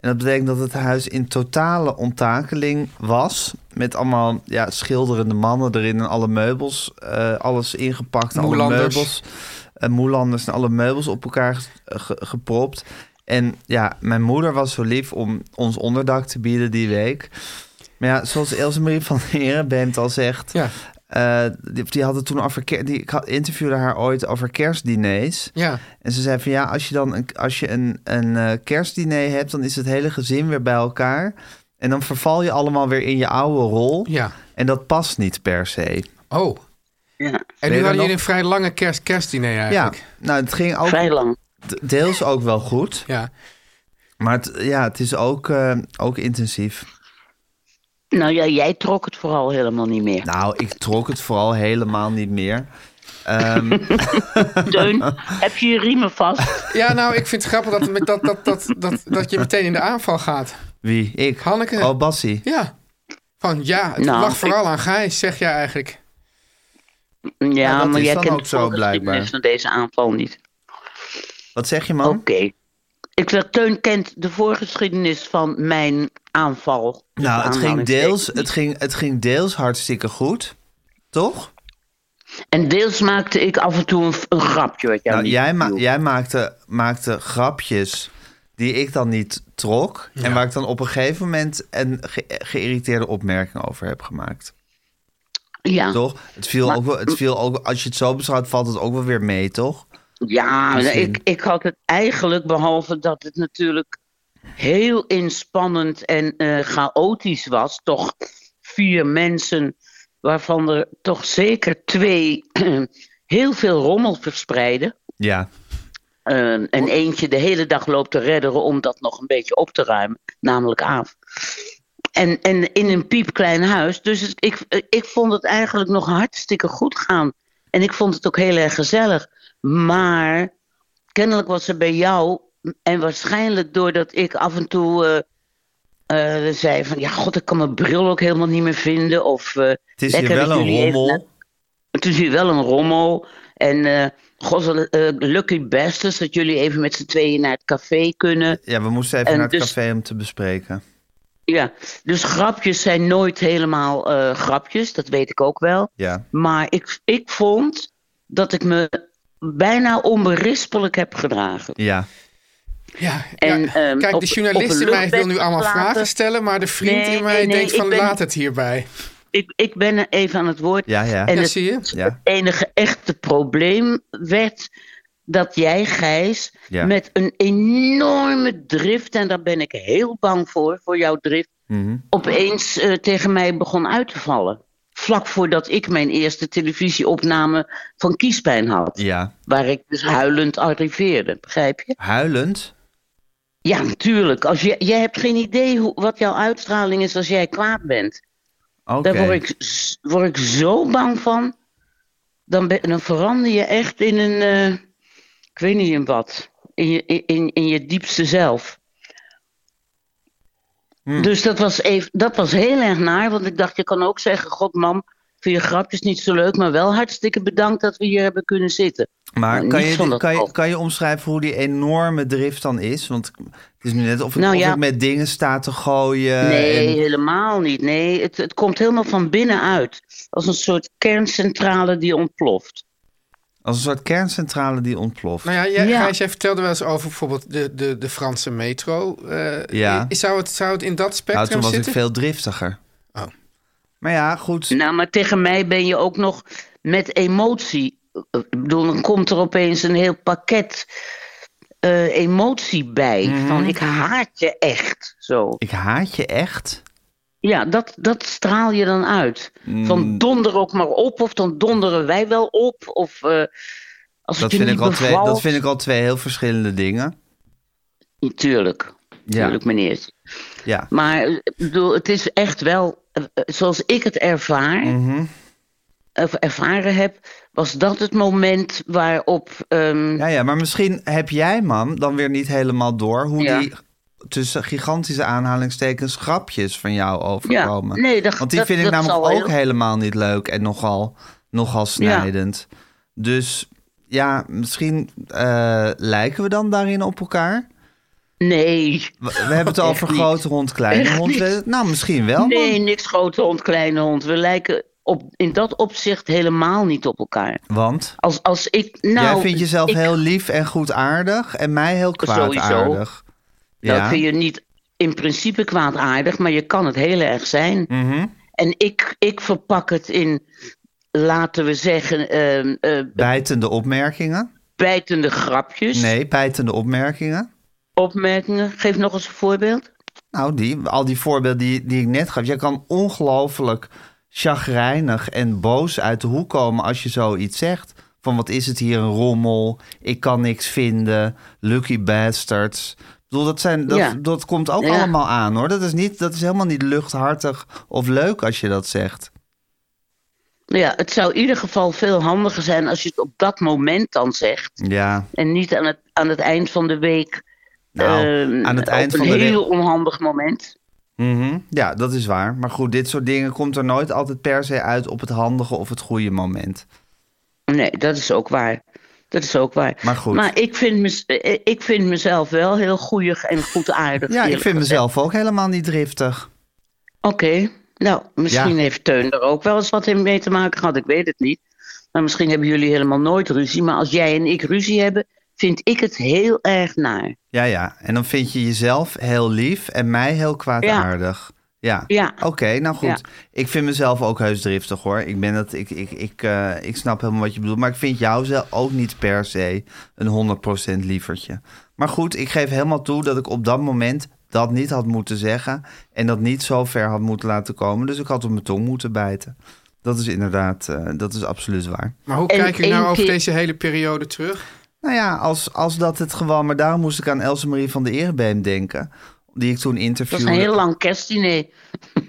E: En dat betekent dat het huis in totale onttakeling was. Met allemaal ja, schilderende mannen erin en alle meubels. eh, alles ingepakt, alle
F: Moelanders.
E: meubels. eh, moelanders en alle meubels op elkaar ge- ge- gepropt. En ja, mijn moeder was zo lief om ons onderdak te bieden die week. Maar ja, zoals Else Marie van der Herenbeemt al zegt...
F: Ja.
E: Eh, die, die hadden toen over ker- die, ik had- interviewde haar ooit over kerstdiners.
F: Ja.
E: En ze zei van ja, als je dan een, als je een, een eh, kerstdiner hebt, dan is het hele gezin weer bij elkaar. En dan verval je allemaal weer in je oude rol.
F: Ja.
E: En dat past niet per se.
F: Oh.
J: Ja,
F: En
E: je er
F: nu hadden
E: nog-
F: jullie een vrij lange kerst kerstdiner eigenlijk.
E: Ja, nou het ging ook
J: vrij lang.
E: d- deels ook wel goed.
F: Ja.
E: Maar het, ja, het is ook, eh, ook intensief.
J: Nou ja, jij trok het vooral helemaal niet
E: <laughs>
J: meer.
E: Nou, ik trok het vooral helemaal niet meer. Ehm,
J: Teun, heb je je riemen vast?
F: Ja, nou, ik vind het grappig dat, met dat, dat, dat, dat, dat je meteen in de aanval gaat.
E: wie? Ik.
F: Hanneke.
E: Oh, Bassie.
F: Ja. Van ja, het
J: Nou,
F: lag
J: ik-
F: vooral aan Gijs, zeg jij eigenlijk.
J: Ja,
E: dat
J: maar
E: is
J: jij
E: dan
J: kent
E: ook
J: de
E: zo,
J: voorgeschiedenis
E: blijkbaar.
J: van deze aanval niet.
E: Wat zeg je,
J: Oké.
E: man?
J: Ik zeg, Teun kent de voorgeschiedenis van mijn aanval.
E: Nou, het ging,
J: Aanhalingstekens
E: deels,
J: niet.
E: het, ging, het ging deels hartstikke goed. Toch?
J: En deels maakte ik af en toe een, een grapje. Wat jou
E: Nou,
J: niet
E: jij, ma-
J: viel.
E: jij maakte, maakte grapjes die ik dan niet trok. En waar ik dan op een gegeven moment een ge- geïrriteerde opmerking over heb gemaakt.
J: ja.
E: Toch? Het viel,
J: Maar-
E: ook wel, het viel ook, als je het zo beschouwt, valt het ook wel weer mee, toch?
J: Ja, nou,
E: Misschien.
J: ik, ik had het eigenlijk, behalve dat het natuurlijk heel inspannend en eh, chaotisch was, toch vier mensen, waarvan er toch zeker twee <clears throat> heel veel rommel verspreiden.
E: Ja.
J: Eh, en eentje de hele dag loopt te redderen om dat nog een beetje op te ruimen, namelijk Aaf. En, en in een piepklein huis. Dus het- ik, ik vond het eigenlijk nog hartstikke goed gaan. En ik vond het ook heel erg gezellig. Maar kennelijk was er bij jou, en waarschijnlijk doordat ik af en toe eh, eh, zei van ja, god, ik kan mijn bril ook helemaal niet meer vinden. Of, eh,
E: Het is
J: lekker
E: hier wel
J: dat
E: een
J: jullie even-
E: rommel.
J: het is hier wel een rommel. En eh god, eh, lucky best is dat jullie even met z'n tweeën naar het café kunnen.
E: Ja, we moesten even
J: En
E: naar het
J: dus-
E: café om te bespreken.
J: Ja, dus grapjes zijn nooit helemaal eh, grapjes, dat weet ik ook wel.
E: Ja.
J: Maar ik, ik vond dat ik me bijna onberispelijk heb gedragen.
E: Ja.
F: Ja,
J: En,
F: ja.
J: ehm,
F: kijk,
J: op-
F: de
J: op
F: journalist
J: een
F: in mij wil nu
J: luchtbed
F: allemaal
J: laten.
F: vragen stellen, maar de vriend
J: Nee,
F: in mij
J: nee, nee,
F: denkt van
J: ik ben-
F: laat het hierbij.
J: Ik, ik ben even aan het woord.
E: Ja, ja.
J: En
F: Ja,
J: het,
F: zie je?
E: Ja.
J: het enige echte probleem werd dat jij, Gijs,
E: Ja.
J: met een enorme drift, en daar ben ik heel bang voor, voor jouw drift,
E: Mhm.
J: opeens eh, tegen mij begon uit te vallen. Vlak voordat ik mijn eerste televisieopname van kiespijn had.
E: Ja.
J: Waar ik dus huilend arriveerde, begrijp je?
E: Huilend?
J: Ja, natuurlijk. Als jij, jij hebt geen idee hoe, wat jouw uitstraling is als jij kwaad bent.
E: Oké.
J: Daar word ik, z- word ik zo bang van. Dan, ben- dan verander je echt in een. eh, ik weet niet in wat. In je, in, in je diepste zelf.
E: Hm.
J: Dus dat was, even, dat was heel erg naar. Want ik dacht, je kan ook zeggen: God, mam, ik vind je grapjes niet zo leuk. Maar wel hartstikke bedankt dat we hier hebben kunnen zitten.
E: Maar
J: Nou,
E: kan
J: niet
E: je,
J: van dat
E: kan, je,
J: hoofd.
E: kan je omschrijven hoe die enorme drift dan is? Want het is nu net of ik,
J: Nou
E: of
J: ja.
E: ik met dingen sta te gooien.
J: Nee,
E: Eh, en-
J: helemaal niet. Nee, het, het komt helemaal van binnenuit. Als een soort kerncentrale die ontploft.
E: Als een soort kerncentrale die ontploft.
F: Nou ja, jij,
J: Ja.
F: Gijs, jij vertelde wel eens over bijvoorbeeld de, de, de Franse metro. Eh,
E: Ja.
F: i- Zou het, zou het in dat
E: nou, toen
F: spectrum
E: was
F: zitten?
E: ik veel driftiger.
F: Oh.
E: Maar ja, goed.
J: Nou, maar tegen mij ben je ook nog met emotie. Ik bedoel, dan komt er opeens een heel pakket eh, emotie bij.
E: Mhm.
J: Van ik haat je echt. Zo.
E: Ik haat je echt.
J: Ja, dat, dat straal je dan uit.
E: Mm.
J: Van donder ook maar op, of dan donderen wij wel op. Of eh, als
E: Dat
J: het je
E: vind,
J: niet
E: ik al twee,
J: bevalt.
E: dat vind ik al twee heel verschillende dingen.
J: Natuurlijk.
E: Ja.
J: Natuurlijk, meneertje.
E: Ja.
J: Maar eh, ik bedoel, het is echt wel, eh, eh, zoals ik het ervaar,
E: Mhm.
J: of ervaren heb, was dat het moment waarop. ehm,
E: Ja, ja, maar misschien heb jij, man, dan weer niet helemaal door hoe
J: Ja.
E: die tussen gigantische aanhalingstekens grapjes van jou overkomen.
J: Ja, nee, dat-
E: Want die
J: dat-
E: vind ik
J: dat
E: namelijk
J: zal
E: ook
J: heel-
E: helemaal niet leuk en nogal, nogal snijdend. Dus ja, misschien eh, lijken we dan daarin op elkaar.
J: nee.
E: We, we hebben
J: <laughs>
E: het over
J: niet.
E: grote hond, kleine
J: Echt
E: hond.
J: niet.
E: Eh, Nou, misschien wel. man.
J: Nee, niks grote hond, kleine hond. We lijken op, in dat opzicht helemaal niet op elkaar.
E: Want
J: Als, als ik. Nou,
E: jij vindt jezelf
J: ik-
E: heel lief en goedaardig en mij heel
J: Sowieso.
E: kwaadaardig.
J: Dat vind je niet in principe kwaadaardig, maar je kan het heel erg zijn.
E: Mhm.
J: En ik, ik verpak het in, laten we zeggen, ehm, eh,
E: Bijtende opmerkingen.
J: bijtende grapjes,
E: Nee, bijtende opmerkingen.
J: opmerkingen. Geef nog eens een voorbeeld.
E: Nou, die, al die voorbeelden die, die ik net gaf. Jij kan ongelooflijk chagrijnig en boos uit de hoek komen als je zoiets zegt. Van wat is het hier een rommel, ik kan niks vinden, lucky bastards. Ik bedoel, dat, zijn, dat,
J: Ja.
E: dat komt ook
J: Ja.
E: allemaal aan hoor. Dat is, niet, dat is helemaal niet luchthartig of leuk als je dat zegt.
J: Nou Ja, het zou in ieder geval veel handiger zijn als je het op dat moment dan zegt.
E: Ja,
J: En niet aan het, aan het eind van de week.
E: Nou,
J: eh,
E: aan het eind
J: op
E: van
J: een
E: de week-
J: heel onhandig moment.
E: Mhm. ja dat is waar. Maar goed, dit soort dingen komt er nooit altijd per se uit op het handige of het goede moment.
J: Nee, dat is ook waar. Dat is ook waar.
E: Maar goed.
J: Maar ik vind, mez- eh, ik vind mezelf wel heel goeig en goed aardig.
E: Ja, ik
J: eerlijk
E: vind
J: gezegd.
E: mezelf ook helemaal niet driftig.
J: Oké, nou, misschien
E: Ja.
J: heeft Teun er ook wel eens wat mee te maken gehad. Ik weet het niet. Maar misschien hebben jullie helemaal nooit ruzie. Maar als jij en ik ruzie hebben, vind ik het heel erg naar.
E: Ja, ja. En dan vind je jezelf heel lief en mij heel kwaadaardig. Ja.
J: Ja.
E: Oké, nou goed.
J: Ja.
E: Ik vind mezelf ook heus driftig hoor. Ik ben dat, ik, ik, ik, eh, ik snap helemaal wat je bedoelt. Maar ik vind jou zelf ook niet per se een 100% lievertje. Maar goed, ik geef helemaal toe dat ik op dat moment dat niet had moeten zeggen. En dat niet zo ver had moeten laten komen. Dus ik had op mijn tong moeten bijten. Dat is inderdaad, eh, dat is absoluut waar.
F: Maar hoe
J: En
F: kijk je
J: één
F: nou over
J: keer-
F: deze hele periode terug?
E: Nou ja, als, als dat het gewoon... Maar daarom moest ik aan Else Marie van de Erebeem denken. Die ik toen
J: Dat
E: interviewde.
J: is een heel lang kerstdiner.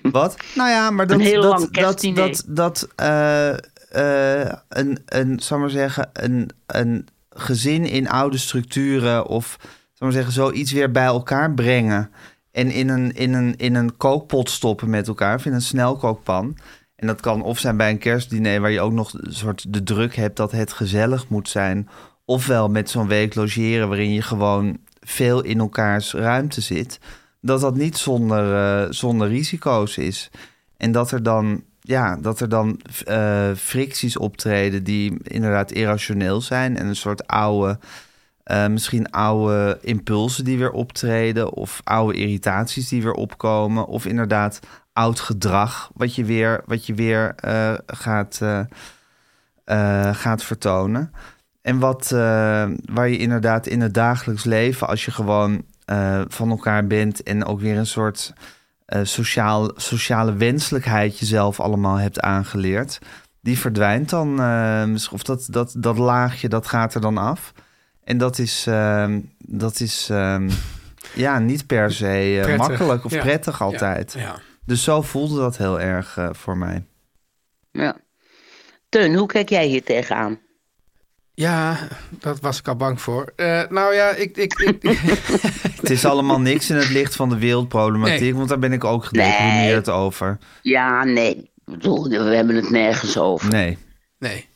E: Wat? Nou ja, maar dat...
J: Een heel
E: dat,
J: lang
E: dat,
J: kerstdiner.
E: dat, dat eh, eh, een, een, zal ik maar zeggen, een, een gezin in oude structuren... of, zal ik maar zeggen, zoiets weer bij elkaar brengen... en in een, in, een, in een kookpot stoppen met elkaar, of in een snelkookpan... En dat kan of zijn bij een kerstdiner waar je ook nog een soort de druk hebt dat het gezellig moet zijn. Ofwel met zo'n week logeren waarin je gewoon veel in elkaars ruimte zit. Dat dat niet zonder, eh, zonder risico's is. En dat er dan, ja, dat er dan eh, fricties optreden die inderdaad irrationeel zijn. En een soort oude, eh, misschien oude impulsen die weer optreden. Of oude irritaties die weer opkomen. Of inderdaad oud gedrag wat je weer, wat je weer eh, gaat, eh, eh, gaat vertonen. En wat, eh, waar je inderdaad in het dagelijks leven, als je gewoon eh, van elkaar bent en ook weer een soort eh, sociaal, sociale wenselijkheid jezelf allemaal hebt aangeleerd, die verdwijnt dan. eh, misschien- of dat, dat, dat laagje, dat gaat er dan af. En dat is, ehm, dat is ehm, ja, niet per se eh,
F: Prettig.
E: makkelijk of
F: Ja.
E: prettig altijd.
F: Ja. ja.
E: Dus zo voelde dat heel erg eh, voor mij.
J: Ja. Teun, hoe kijk jij hier tegenaan?
F: Ja, dat was ik al bang voor. Eh, nou ja, ik, ik, ik,
J: <laughs>
E: Het is allemaal niks in het licht van de wereldproblematiek,
F: Nee.
E: want daar ben ik ook gedeprimeerd over.
J: Ja, nee. Ik bedoel, we hebben het nergens over.
E: Nee.
F: nee.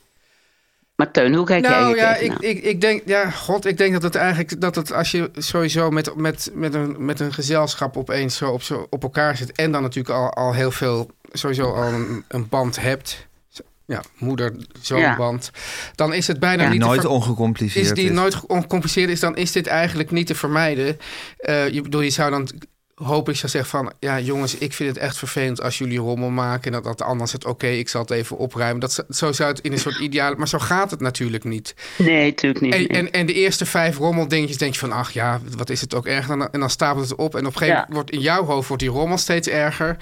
J: Maar Teun, hoe kijk jij
F: nou
J: hier
F: ja, ik,
J: tegenaan?
F: ik, ik denk, ja, god, ik denk dat het eigenlijk, dat het als je sowieso met, met, met, een, met een gezelschap opeens zo op, zo op elkaar zit en dan natuurlijk al, al heel veel, sowieso al een, een band hebt, Zo- ja, moeder, zoonband, band, dan is het bijna
J: Ja.
F: niet te
E: Nooit
F: ver-
E: ongecompliceerd.
F: is die
E: is.
F: nooit ongecompliceerd is, dan is dit eigenlijk niet te vermijden. Eh, je bedoel, je zou dan hoop ik zou zeggen van ja jongens ik vind het echt vervelend als jullie rommel maken en dat dat anders het oké ik zal het even opruimen dat zo- zo zou het in een
J: <laughs>
F: soort ideale maar zo gaat het natuurlijk niet
J: Nee, natuurlijk niet.
F: en,
J: nee.
F: en, en de eerste vijf rommeldingetjes denk je van, ach ja, wat is het ook erg. En dan, en dan stapelt het op. En op een gegeven
J: Ja.
F: moment wordt in jouw hoofd wordt die rommel steeds erger.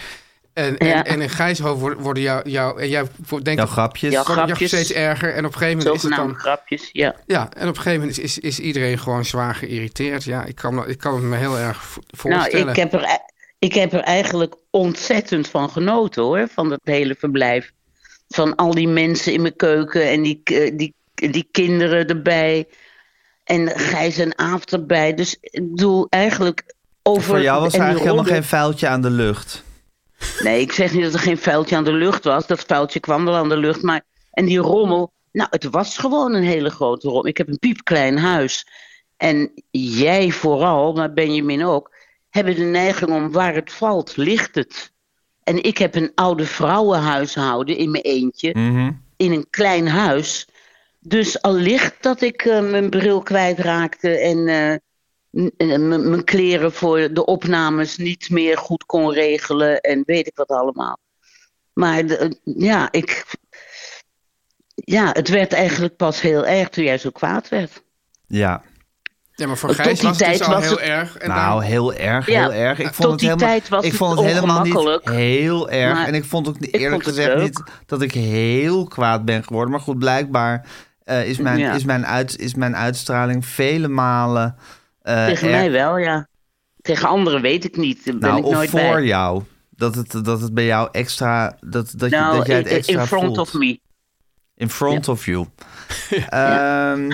F: En, en,
J: Ja.
F: en in Gijs hoofd worden- worden jouw... Jou, en jij wordt- denkt
E: Jouw
F: dat
E: grapjes.
J: Ja,
F: wordt jouw
J: grapjes.
F: steeds erger. En op een gegeven moment is het
J: Zogenaamde
F: dan...
J: grapjes, ja.
F: Ja, en op een gegeven moment is, is iedereen gewoon zwaar geïrriteerd. Ja, ik kan, me- ik kan het me heel erg vo-
J: Nou,
F: voorstellen.
J: ik heb, er, e- ik heb er eigenlijk ontzettend van genoten hoor, van dat hele verblijf. Van al die mensen in mijn keuken en die, eh, die, die kinderen erbij. En Gijs en Aaf erbij. Dus ik bedoel, eigenlijk over...
E: Voor jou was
J: en
E: er
J: die
E: eigenlijk helemaal
J: rommel-
E: geen vuiltje aan de lucht.
J: Nee, ik zeg niet dat er geen vuiltje aan de lucht was. Dat vuiltje kwam wel aan de lucht. Maar, en die rommel, nou, het was gewoon een hele grote rommel. Ik heb een piepklein huis. En jij vooral, maar Benjamin ook, hebben de neiging om waar het valt, ligt het. En ik heb een oude vrouwenhuishouden in mijn eentje, in een klein huis. Dus al ligt dat ik eh, mijn bril kwijtraakte en eh, n- eh, m- mijn kleren voor de opnames niet meer goed kon regelen en weet ik wat allemaal. Maar de- eh, ja, ik, ja, het werd eigenlijk pas heel erg toen jij zo kwaad werd.
E: Ja.
F: ja, maar voor
J: tot
F: Gijs
J: die
F: was het dus
J: tijd
F: al
J: was
F: heel
J: het-
F: erg. En daarom-
E: Nou, heel erg,
J: Ja,
E: heel erg. Ik
J: tot
E: vond het
J: die
E: helemaal,
J: tijd was
E: ik
J: het
E: vond het helemaal niet
J: ongemakkelijk.
E: heel erg.
J: Maar
E: en ik vond ook niet-
J: ik
E: eerlijk
J: vond het
E: gezegd
J: leuk.
E: niet dat ik heel kwaad ben geworden. Maar goed, blijkbaar eh, is, mijn,
J: Ja.
E: is, mijn uit, is mijn uitstraling vele malen... eh,
J: Tegen mij
E: erg-
J: wel, ja. Tegen anderen weet ik niet. Daar ben
E: nou,
J: ik
E: of
J: nooit
E: voor
J: bij.
E: jou. Dat het, dat het bij jou extra. Dat, dat,
J: nou,
E: je, dat jij het
J: in- in-
E: extra
J: in front
E: voelt.
J: of me.
E: In front of
J: <laughs>
E: you. Ehm,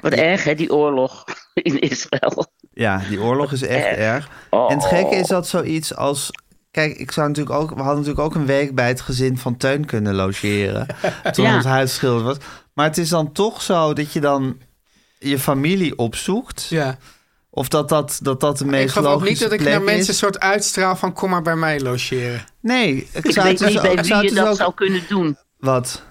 J: Wat erg, hè, die oorlog <laughs> in
E: <laughs>
J: Israël.
E: Ja, die oorlog is echt
J: Echt.
E: erg.
J: Oh.
E: En het gekke is dat zoiets als. Kijk, ik zou natuurlijk ook, we hadden natuurlijk ook een week bij het gezin van Teun kunnen
J: <laughs>
E: logeren. Toen
J: Ja.
E: ons huis schilder was. Maar het is dan toch zo dat je dan je familie opzoekt.
F: Ja.
E: Of dat dat, dat, dat de meest
F: Ik geloof ook niet
E: logische
F: dat ik naar
E: plek is.
F: mensen een soort uitstraal van kom maar bij mij logeren.
E: Nee, ik,
J: Ik
E: zou het
J: weet
E: dus
J: niet
E: ook-
J: bij
E: ik
J: wie
E: zou
J: je
E: het dus
J: dat
E: ook-
J: zou kunnen doen.
E: Wat?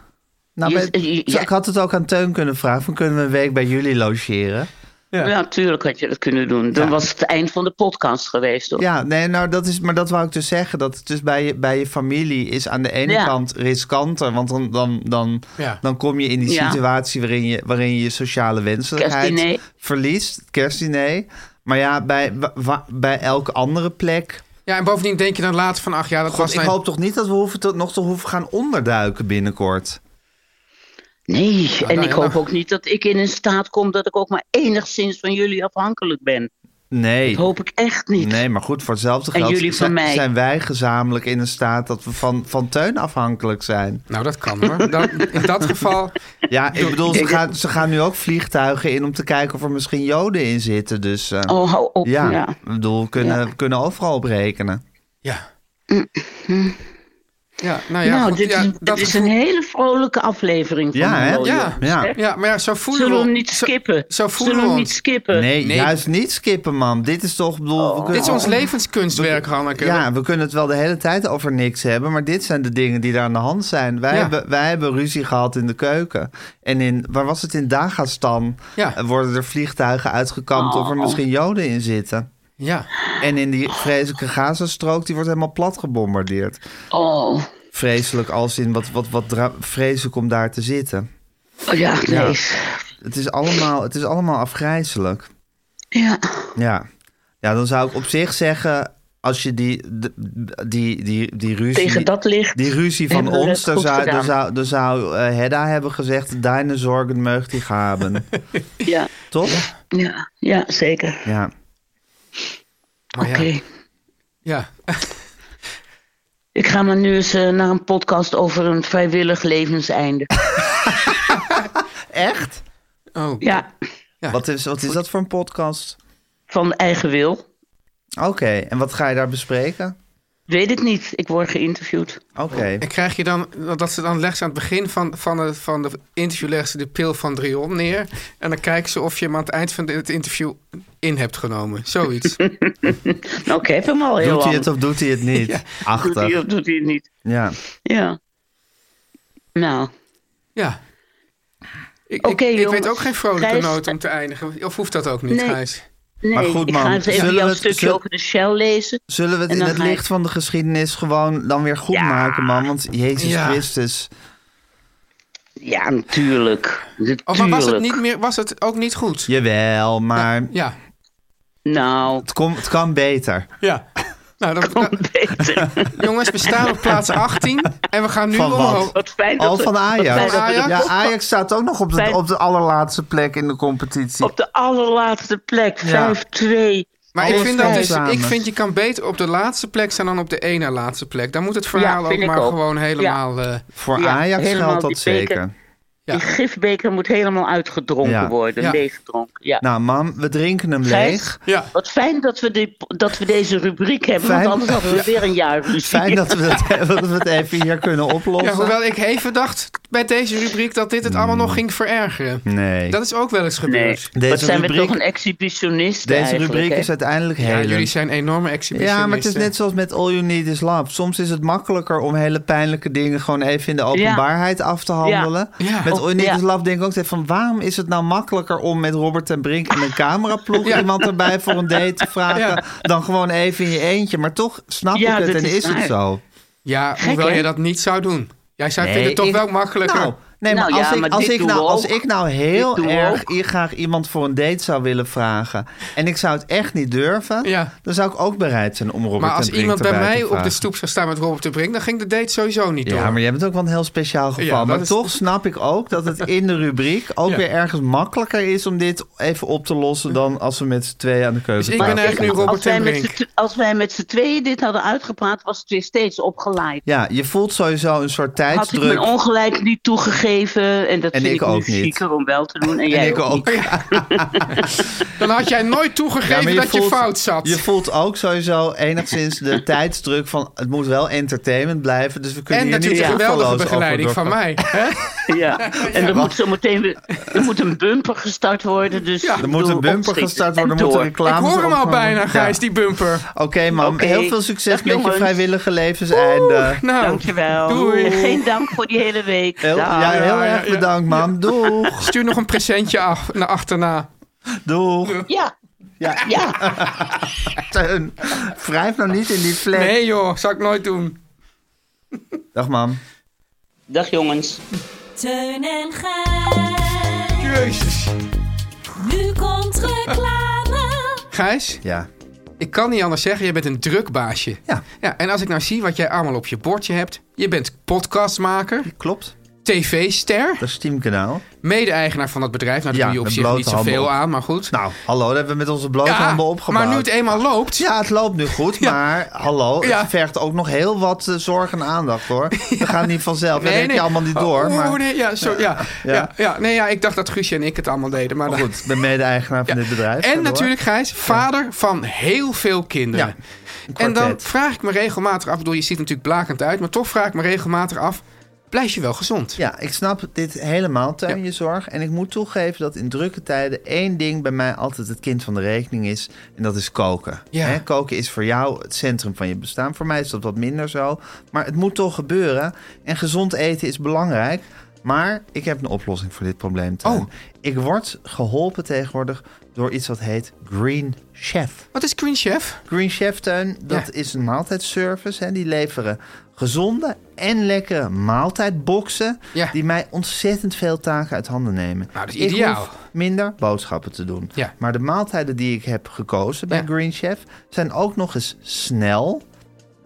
E: Nou,
J: Je-
E: bij-
J: je-
E: zo-
J: ja.
E: Ik had het ook aan Teun kunnen vragen. Van, kunnen we een week bij jullie logeren?
J: Ja, natuurlijk had je dat kunnen doen. Dan
E: Ja.
J: was het eind van de podcast geweest. Hoor.
E: Ja, nee, nou, dat is, maar dat wou ik dus zeggen. Dat het dus bij je, bij je familie is aan de ene
J: Ja.
E: kant riskanter. Want dan, dan, dan,
F: Ja.
E: dan kom je in die
J: Ja.
E: situatie waarin je, waarin je je sociale wenselijkheid
J: Kerstdiner.
E: verliest. het Kerstdiner. Maar ja, bij, wa- wa- bij elke andere plek.
F: Ja, en bovendien denk je dan later van, ach ja, dat was
E: God, ik
F: mijn-
E: hoop toch niet dat we hoeven te, nog te hoeven gaan onderduiken binnenkort.
J: Nee, en
F: nou ja.
J: ik hoop ook niet dat ik in een staat kom dat ik ook maar enigszins van jullie afhankelijk ben.
E: Nee.
J: Dat hoop ik echt niet.
E: Nee, maar goed, voor hetzelfde
J: En
E: geld
J: jullie van
E: zijn,
J: mij.
E: zijn wij gezamenlijk in een staat dat we van, van Teun afhankelijk zijn.
F: Nou, dat kan hoor. Dan, in dat geval,
E: Ja, ik bedoel, ze gaan, ze gaan nu ook vliegtuigen in om te kijken of er misschien joden in zitten. Dus eh,
J: Oh, hou op.
E: ja,
J: Ja.
E: ik bedoel, we kunnen,
J: Ja.
E: we kunnen overal op rekenen.
F: ja. Ja, nou ja,
J: nou,
F: goed,
J: dit,
F: ja,
J: is,
F: dat
J: dit is
F: gevoel-
J: een hele vrolijke aflevering van
E: Ja, hè?
J: Hallo,
F: Ja,
J: jongens,
E: Ja.
J: hè?
F: Ja, maar ja, zo voelen
J: Zullen we
F: we
J: hem
F: ons-
J: niet
F: zo-
J: skippen?
F: Zo voelen
J: Zullen
F: we
J: we hem
F: ons.
J: niet skippen?
E: Nee,
F: Nee. Oh.
E: juist niet skippen, man. Dit is toch, ik bedoel, we kunnen,
F: Dit is ons levenskunstwerk, Hanneke.
E: ja, we kunnen het wel de hele tijd over niks hebben, maar dit zijn de dingen die daar aan de hand zijn. Wij,
F: Ja.
E: hebben, wij hebben ruzie gehad in de keuken. En in, waar was het, in Dagestan
F: Ja. Oh.
E: eh, worden er vliegtuigen uitgekampt of er misschien joden in zitten.
F: Ja.
E: En in die vreselijke Gazastrook, die wordt helemaal plat gebombardeerd.
J: Oh,
E: vreselijk als in wat, wat, wat dra- vreselijk om daar te zitten.
J: oh ja, nee.
E: Ja.
J: Ja.
E: Het is allemaal, het is allemaal afgrijzelijk. Ja. ja, dan zou ik op zich zeggen, als je die, de- die, die, die ruzie...
J: Tegen dat licht.
E: Die ruzie van
J: hebben we
E: ons,
J: het
E: daar
J: goed
E: zou, daar
J: gedaan.
E: zou, daar zou eh, Hedda hebben gezegd... Deine zorgen möchte ich
J: <laughs>
E: haben.
J: Ja,
E: Toch?
J: ja, ja, zeker.
E: Ja.
F: Maar
J: Oké.
F: ja. ja.
J: Ik ga maar nu eens eh, naar een podcast over een vrijwillig levenseinde.
E: Echt?
F: Oh,
J: Ja,
E: Wat, is, wat is dat voor een podcast?
J: van eigen wil.
E: Oké, en wat ga je daar bespreken?
J: Weet ik niet. Ik word geïnterviewd.
E: Oké.
J: Oh.
F: En krijg je dan, dat ze dan legt ze aan het begin van, van, het, van de interview legt ze de pil van Drion neer. En dan kijken ze of je hem aan het eind van het interview in hebt genomen. <laughs> Zoiets.
J: Nou, ik heb hem al heel
E: Doet hij
J: lang.
E: het of doet
J: <laughs>
E: hij het niet?
J: doet hij
E: Achtig.
J: of doet hij het niet?
E: Ja.
J: Ja. Nou,
F: ja. Ik,
J: Oké,
F: ik, ik
J: jongens.
F: weet ook geen vrolijke
J: Gijs-
F: noot om te eindigen. Of hoeft dat ook niet,
J: Nee.
F: Gijs?
J: nee,
E: Maar goed,
J: ik
E: man.
J: ga eens even
E: Zullen
J: jouw
E: we het-
J: stukje
E: zullen-
J: over de Shell lezen.
E: Zullen we het
J: En
E: in
J: dan
E: het
J: ga ik-
E: licht van de geschiedenis gewoon dan weer goed
J: Ja.
E: maken, man? Want Jezus
F: Ja.
E: Christus.
J: Ja, natuurlijk. natuurlijk.
F: Oh, maar was het, niet meer, was het ook niet goed?
E: Jawel, maar
F: Ja.
J: Nou,
E: het, kom, het kan beter.
F: Ja. Nou, dat, nou,
J: <laughs> beter.
F: jongens, we staan op <laughs> plaats 18 en we gaan nu
E: Van wat?
F: omhoog.
J: Wat fijn dat
E: Al
J: we-
E: van
J: wat
E: Ajax.
J: fijn dat we de
E: Ja,
F: Ajax?
E: Ajax staat ook nog op de,
J: Fijn.
E: op de allerlaatste plek in de competitie.
J: Op de allerlaatste plek, Oh, 5-2.
F: Maar
E: Alles
F: ik vind, dat
E: komt
F: dus,
E: samen.
F: ik vind je kan beter op de laatste plek staan dan op de ene na laatste plek. Dan moet het verhaal
J: vind
F: ook
J: ik
F: maar
J: ook.
F: gewoon helemaal... eh,
E: Voor
J: Ja,
E: Ajax
J: helemaal
E: geldt
J: die
E: dat
J: beker.
E: zeker.
F: Ja.
J: Die gifbeker moet helemaal uitgedronken
E: Ja.
J: worden,
F: Ja.
J: leeggedronken. Ja.
E: Nou, mam, we drinken hem
J: Gijs?
E: leeg.
F: ja.
J: Wat fijn dat we, die, dat we deze rubriek hebben,
E: Fijn.
J: want anders hadden we weer een
E: <laughs>
J: jaar ruzie.
E: Fijn dat we, het, <laughs> dat we het even hier kunnen oplossen.
F: Ja, hoewel ik even dacht bij deze rubriek dat dit het allemaal nog ging verergeren.
E: Mm. Nee.
F: Dat is ook wel eens
J: Nee,
F: gebeurd.
E: Deze
J: wat zijn we
E: rubriek-
J: toch een exhibitionist
E: Deze rubriek is
J: het.
E: uiteindelijk
F: Ja,
E: heel.
F: jullie zijn enorme exhibitionisten.
E: Ja, maar het is net zoals met All You Need Is Love. Soms is het makkelijker om hele pijnlijke dingen gewoon even in de openbaarheid af te handelen.
F: Ja. Ja.
E: Met All You Need
J: Ja.
E: Is Love denk ik ook steeds van... waarom is het nou makkelijker om met Robert en Brink en een
J: <laughs>
E: cameraploeg... iemand erbij voor een date te vragen...
F: Ja.
E: dan gewoon even in je eentje. Maar toch snap
J: Ja,
E: ik het
J: dat
E: en
J: is
E: is, het
J: waar.
E: zo.
F: Ja, hoewel
J: hè?
F: je dat niet zou doen. Jij zou
E: Nee,
F: vindt het toch
E: ik-
F: wel makkelijker.
E: Nou, Nee, maar,
J: Nou
E: als,
J: ja,
E: ik,
J: maar
E: als,
J: dit
E: ik
J: doen
E: nou,
J: we
E: als
J: ook.
E: ik nou heel
J: Dit doen we
E: erg
J: ook.
E: i- graag iemand voor een date zou willen vragen... en ik zou het echt niet durven...
F: Ja.
E: dan zou ik ook bereid zijn om Robert
F: Maar als
E: ten Brink
F: iemand bij
E: erbij
F: mij
E: te
F: op de
E: vragen.
F: stoep zou staan met Robert de Brink, dan ging de date sowieso niet door.
E: Ja, maar jij bent ook wel een heel speciaal geval.
F: Ja, dat
E: maar
F: is-
E: toch snap ik ook dat het in de rubriek... ook
F: Ja.
E: weer ergens makkelijker is om dit even op te lossen... dan als we met z'n tweeën aan de keuze
F: Dus ik
E: tafel
F: ben echt nu
E: zitten.
F: Robert
J: Nou, Als wij,
F: ten
J: met
F: Brink.
J: z'n tw- als wij met z'n tweeën dit hadden uitgepraat, was het weer steeds opgeleid.
E: Ja, je voelt sowieso een soort
J: Had ik mijn
E: tijdsdruk.
J: ongelijk niet toegegeven. En dat
E: En
J: vind
E: ik
J: ik, nu
E: ook niet.
J: zieker om wel te doen. En, jij
E: en ik
J: ook.
E: ook.
F: <laughs> Dan had jij nooit
E: Ja,
F: toegegeven
E: maar
F: dat je fout zat.
E: Je voelt ook sowieso enigszins
F: <laughs>
E: de tijdsdruk van... het moet wel entertainment blijven, dus we kunnen
F: en
E: hier niet
F: natuurlijk een geweldige
E: gevoelloos
F: begeleiding
E: over
F: van mij. hè? <laughs>
J: Ja. En er moet zo meteen weer, er moet een bumper gestart worden. Dus
F: Ja,
E: Er moet een bumper gestart worden, er
J: moet
E: moet een
F: Ik
E: reclame...
F: hoor hem al bijna, Gijs, die bumper.
E: Oké, mam.
J: Oké.
E: Heel veel succes
J: Dag,
E: met
J: jongens.
E: je vrijwillige levenseinde.
F: Nou,
J: Dankjewel.
F: Doei.
J: En <laughs> geen dank voor die hele week.
E: Heel,
J: Dag.
E: ja, heel
F: Ja, ja,
E: erg
F: ja.
E: bedankt, mam.
F: <laughs>
E: Doeg.
F: Stuur nog een presentje af, naar achterna.
E: Doeg.
J: ja.
E: Ja,
J: ja.
E: Teun. Wrijf nou niet in die vlek.
F: Nee joh, zou ik nooit doen.
E: Dag, mam.
J: Dag jongens.
I: Teun en Gijs.
F: Jezus.
I: Nu komt reclame.
F: Gijs,
E: Ja.
F: ik kan niet anders zeggen, je bent een drukbaasje.
E: Ja.
F: ja. En als ik nou zie wat jij allemaal op je bordje hebt. Je bent podcastmaker,
E: Klopt.
F: tv-ster,
E: Dat is Teamkanaal.
F: mede-eigenaar van dat bedrijf. Nou, daar
E: Ja,
F: doe je op
E: met
F: zich
E: blote
F: niet zoveel
E: handen op.
F: aan, maar goed.
E: Nou, hallo, dat hebben we met onze blote handen opgebouwd.
F: maar nu het eenmaal loopt.
E: Ja, het loopt nu
F: <laughs>
E: goed, maar hallo, het
F: Ja.
E: vergt ook nog heel wat eh, zorg en aandacht
F: <laughs>
E: hoor. Dat gaat niet vanzelf, dat denk je allemaal niet door.
F: Oh,
E: maar...
F: nee, ja, zo, ja, ja.
E: Ja.
F: Ja, nee, ja, ik dacht dat Guusje en ik het allemaal deden. Maar
E: Maar
F: dat-
E: goed, ik ben mede-eigenaar van
F: Ja.
E: dit bedrijf.
F: En
E: Ga door.
F: natuurlijk, Gijs, vader van heel veel kinderen.
E: Ja,
F: en dan
E: kwartet.
F: vraag ik me regelmatig af, ik bedoel, je ziet er natuurlijk blakend uit, maar toch vraag ik me regelmatig af, blijf je wel gezond?
E: Ja, ik snap dit helemaal, Teun,
F: Ja.
E: je zorg. En ik moet toegeven dat in drukke tijden één ding bij mij altijd het kind van de rekening is. En dat is koken.
F: Ja.
E: Hè, koken is voor jou het centrum van je bestaan. Voor mij is dat wat minder zo. Maar het moet toch gebeuren. En gezond eten is belangrijk. Maar ik heb een oplossing voor dit probleem, Teun.
F: Oh.
E: Ik word geholpen tegenwoordig door iets wat heet Green Chef.
F: Wat is Green Chef?
E: Green Chef Tuin, dat
F: Ja.
E: is een maaltijdservice. Hè. Die leveren gezonde en lekkere maaltijdboxen...
F: Ja.
E: die mij ontzettend veel taken uit handen nemen.
F: Nou, dat is
E: Ik
F: ideaal.
E: hoef minder boodschappen te doen.
F: Ja.
E: Maar de maaltijden die ik heb gekozen bij
F: Ja.
E: Green Chef... zijn ook nog eens snel.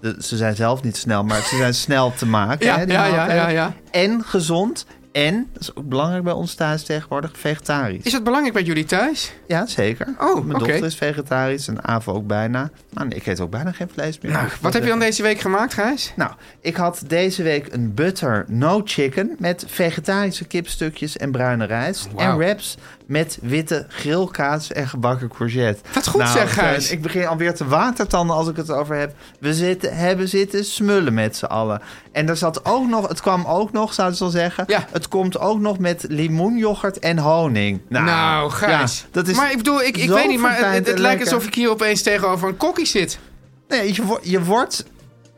E: De- ze zijn zelf niet snel, maar ze zijn <laughs> snel te maken.
F: Ja,
E: hè, die
F: ja, ja,
E: maaltijden.
F: ja, ja.
E: En gezond... En, dat is ook belangrijk bij ons thuis tegenwoordig, vegetarisch.
F: Is dat belangrijk bij jullie thuis?
E: Ja, zeker.
F: Oh,
E: Mijn
F: oké.
E: dochter is vegetarisch en Ava ook bijna. Nou, nee, ik eet ook bijna geen vlees meer.
F: Nou,
E: Dus dat-
F: wat heb je dan deze week gemaakt, Gijs?
E: Nou, ik had deze week een butter no chicken met vegetarische kipstukjes en bruine rijst.
F: Oh, Wauw.
E: En wraps met witte grillkaas en gebakken courgette.
F: Wat goed zeg,
E: Teun,
F: Gijs.
E: Ik begin alweer te watertanden als ik het over heb. We zitten, hebben zitten smullen met z'n allen. En er zat ook nog, het kwam ook nog, zouden ze al zeggen.
F: Ja.
E: Het komt ook nog met limoenyoghurt en honing. Nou,
F: Nou, Gijs.
E: ja, dat is
F: maar ik bedoel, ik, ik
E: zo
F: weet niet, maar het,
E: verfijnd
F: het
E: en
F: lijkt
E: lekker.
F: alsof ik hier opeens tegenover een kokkie zit.
E: Nee, je, wo- je wordt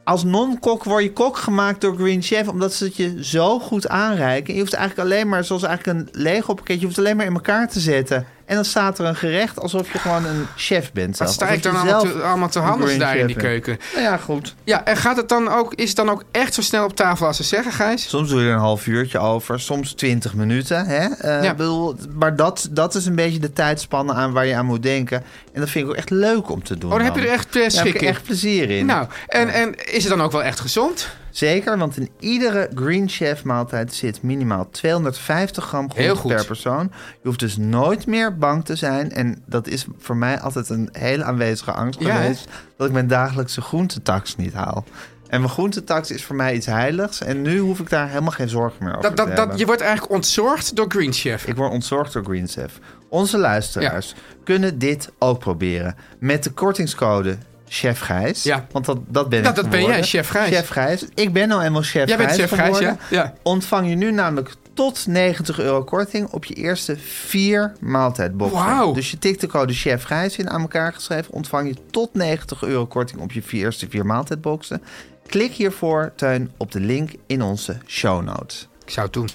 E: als non-kok word je kok gemaakt door Green Chef... omdat ze het je zo goed aanreiken. Je hoeft eigenlijk alleen maar, zoals eigenlijk een Lego pakketje... je hoeft alleen maar in elkaar te zetten. En dan staat er een gerecht alsof je gewoon een chef bent.
F: Wat
E: zelf.
F: sta
E: Alsof
F: ik dan
E: je
F: allemaal
E: zelf
F: te, allemaal te
E: een
F: handen
E: Green
F: daar in die
E: Chef bent.
F: keuken?
E: Nou ja, goed.
F: Ja, en gaat het dan ook, is het dan ook echt zo snel op tafel als ze zeggen, Gijs?
E: Soms doe je er een half uurtje over, soms twintig minuten. Hè? Eh,
F: Ja.
E: ik bedoel, maar dat, dat is een beetje de tijdspanne aan waar je aan moet denken. En dat vind ik ook echt leuk om te doen.
F: Oh, dan heb
E: dan.
F: je er echt eh,
E: Daar heb
F: schik
E: ik
F: in.
E: echt plezier in.
F: Nou, en, en is het dan ook wel echt gezond?
E: Zeker, want in iedere Green Chef maaltijd zit minimaal 250 gram
F: Heel
E: groente
F: goed.
E: per persoon. Je hoeft dus nooit meer bang te zijn. En dat is voor mij altijd een hele aanwezige angst
F: Ja, hè?
E: geweest. Dat ik mijn dagelijkse groentetax niet haal. En mijn groentetax is voor mij iets heiligs. En nu hoef ik daar helemaal geen zorgen meer over
F: Dat, dat,
E: te hebben.
F: dat, je wordt eigenlijk ontzorgd door Green Chef.
E: Ik word ontzorgd door Green Chef. Onze luisteraars kunnen dit ook proberen. Met de kortingscode Chef Gijs.
F: Ja.
E: Want dat, dat ben
F: Dat-
E: ik
F: dat ben jij,
E: geworden.
F: Chef Gijs.
E: Chef Gijs. Ik ben nou eenmaal Chef
F: Jij bent
E: Gijs
F: Chef Gijs,
E: geworden.
F: ja. Ja.
E: Ontvang je nu namelijk tot 90 euro korting op je eerste vier maaltijdboxen.
F: Wauw.
E: Dus je tikt de code Chef Gijs in aan elkaar geschreven. Ontvang je tot 90 euro korting op je vier, eerste vier maaltijdboxen. Klik hiervoor, Teun, op de link in onze show notes.
F: Ik zou het doen.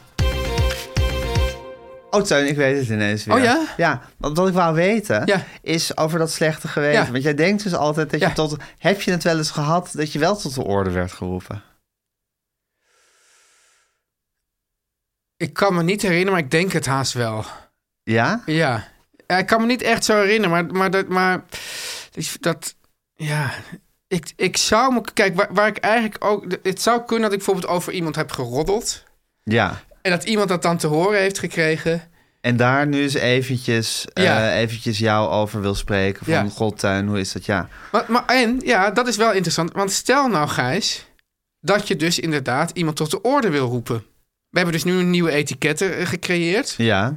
E: Oh, Teun, ik weet het ineens weer.
F: Oh ja?
E: Ja, want wat ik wou weten
F: Ja.
E: is over dat slechte geweten.
F: Ja.
E: Want jij denkt dus altijd dat
F: Ja.
E: je tot... Heb je het wel eens gehad dat je wel tot de orde werd geroepen?
F: Ik kan me niet herinneren, maar ik denk het haast wel.
E: Ja?
F: Ja. Ja, Ik kan me niet echt zo herinneren, maar, maar, dat, maar dus dat, ja, ik, ik zou me, kijk, waar, waar ik eigenlijk ook, het zou kunnen dat ik bijvoorbeeld over iemand heb geroddeld
E: Ja.
F: en dat iemand dat dan te horen heeft gekregen.
E: En daar nu eens eventjes, eh,
F: Ja.
E: eventjes jou over wil spreken. Van
F: Ja.
E: Godtuin, hoe is dat? Ja.
F: Maar, maar en, ja, dat is wel interessant, want stel nou Gijs, dat je dus inderdaad iemand tot de orde wil roepen. We hebben dus nu een nieuwe etiketten eh, gecreëerd.
E: Ja.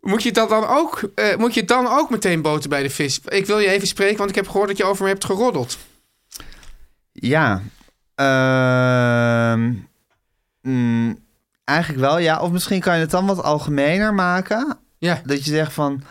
F: Moet je dat dan ook, eh, moet je dan ook meteen boten bij de vis? Ik wil je even spreken, want ik heb gehoord dat je over me hebt geroddeld.
E: Ja. Ehm, mm, eigenlijk wel, ja. Of misschien kan je het dan wat algemener maken.
F: Ja.
E: Dat je zegt van...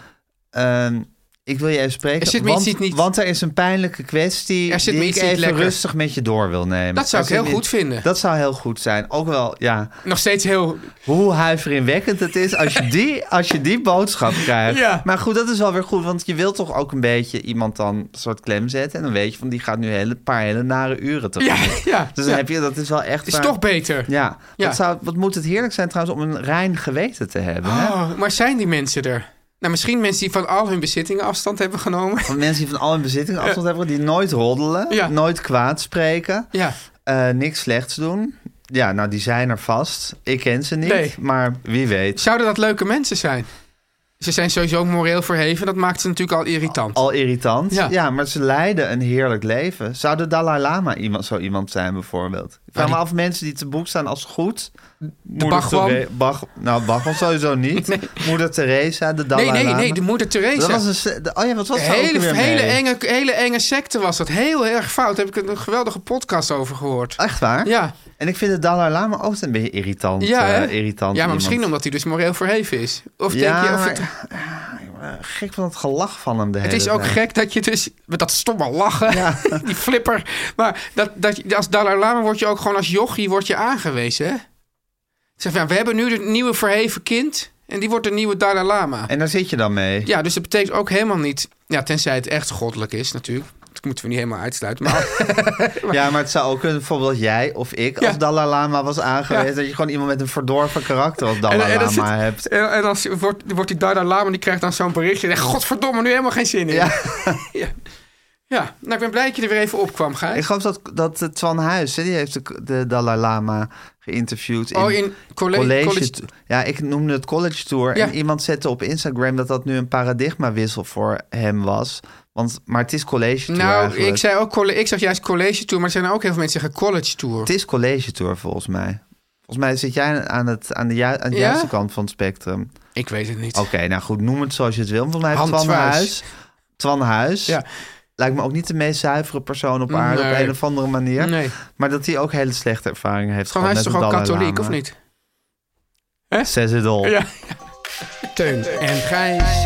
E: ehm, ik wil je even spreken,
F: Er zit me
E: want,
F: iets niet-
E: want er is een pijnlijke kwestie
F: Er zit me
E: die ik
F: iets niet
E: even
F: lekker.
E: rustig met je door wil nemen.
F: Dat zou
E: Er
F: ik heel
E: zit me-
F: goed vinden.
E: Dat zou heel goed zijn. Ook wel, ja,
F: Nog steeds
E: <laughs>
F: heel
E: hoe huiveringwekkend het is als je die, als je die boodschap krijgt.
F: Ja.
E: Maar goed, dat is wel weer goed, want je wilt toch ook een beetje iemand dan een soort klem zetten. En dan weet je van, die gaat nu hele- een paar hele nare uren te
F: Ja, ja.
E: Dus dan
F: ja.
E: heb je, dat is wel echt...
F: Is
E: waar-
F: toch beter.
E: Ja,
F: Ja.
E: Wat, zou, wat moet het heerlijk zijn trouwens om een rein geweten te hebben. Hè?
F: Oh, maar zijn die mensen er? Nou, misschien mensen die van al hun bezittingen afstand hebben genomen. <laughs>
E: Van mensen die van al hun bezittingen afstand hebben, die nooit roddelen,
F: Ja.
E: nooit kwaad spreken,
F: Ja,
E: eh, niks slechts doen. Ja, nou die zijn er vast. Ik ken ze niet,
F: Nee.
E: maar wie weet.
F: zouden dat leuke mensen zijn? Ze zijn sowieso moreel verheven. Dat maakt ze natuurlijk al irritant.
E: Al irritant. Ja.
F: Ja.
E: maar ze leiden een heerlijk leven. Zou de Dalai Lama iemand, zo iemand zijn bijvoorbeeld? Ik vraag
F: Ah, die-
E: me af mensen die te boek staan als goed. De
F: Bhagwan?
E: nou, Bhagwan sowieso
F: <laughs>
E: niet. Moeder Teresa, de Dalai
F: nee, nee,
E: Lama.
F: nee. De moeder Theresa.
E: Dat was een... se- de- Oh ja, wat was dat ook
F: hele,
E: weer
F: hele,
E: mee?
F: enge, hele enge secte was dat. Heel erg fout. Daar heb ik een geweldige podcast over gehoord.
E: Echt waar?
F: Ja,
E: En ik vind de Dalai Lama ook een beetje irritant.
F: ja,
E: Ah, eh,
F: hè?
E: irritant
F: ja maar
E: iemand.
F: misschien omdat hij dus moreel verheven is. Of
E: Ja,
F: denk je, of
E: maar-
F: het,
E: Gek van het gelach van hem de
F: Het
E: hele
F: is ook
E: tijd.
F: gek dat je dus met dat stomme lachen, <laughs> die flipper. Maar dat, dat, je- als Dalai Lama word je ook gewoon als jochie word je aangewezen. Hè? Zeg van, ja, we hebben nu het nieuwe verheven kind en die wordt de nieuwe Dalai Lama.
E: En daar zit je dan mee.
F: Ja, dus dat betekent ook helemaal niet, ja, tenzij het echt goddelijk is natuurlijk. Dat moeten we niet helemaal
E: <laughs>
F: uitsluiten. Maar
E: Ja, maar het zou ook kunnen bijvoorbeeld dat jij of ik
F: Ja.
E: als Dalai Lama was aangewezen...
F: Ja.
E: dat je gewoon iemand met een verdorven karakter als Dalai
F: en, en, dan
E: Lama
F: zit-
E: hebt.
F: en, en dan zit- wordt, wordt die Dalai Lama, die krijgt dan zo'n berichtje. En zegt, godverdomme, nu helemaal geen zin in.
E: Ja.
F: Ja. <laughs> ja. nou ik ben blij dat je er weer even op kwam, Gijs.
E: Ik geloof dat, dat eh, Twan Huis, hè, die heeft de, de Dalai Lama geïnterviewd.
F: Oh, in colle- college-
E: Ja, ik noemde het college tour.
F: Ja.
E: En iemand zette op Instagram dat dat nu een paradigmawissel voor hem was. Want, maar het is college tour
F: Nou,
E: eigenlijk.
F: ik, zei ook colle- ik zag juist college tour, maar er zijn ook heel veel mensen die zeggen college tour.
E: Het is college tour volgens mij. Volgens mij zit jij aan, het, aan de, ju- aan de
F: Ja?
E: juiste kant van het spectrum.
F: Ik weet het niet.
E: Oké, nou goed, noem het zoals je het wil. Volgens mij heeft
F: Hans
E: Twan
F: Twijs.
E: Huis... Twan Huis...
F: Ja.
E: Lijkt me ook niet de meest zuivere persoon op aarde op
F: Nee.
E: een of andere manier.
F: Nee.
E: Maar dat hij ook hele slechte ervaringen heeft
F: Gewoon, hij is
E: gehad.
F: toch ook
E: met de Dalai
F: katholiek,
E: Lama.
F: of niet?
E: Says it all.
F: Ja. Teun en Gijs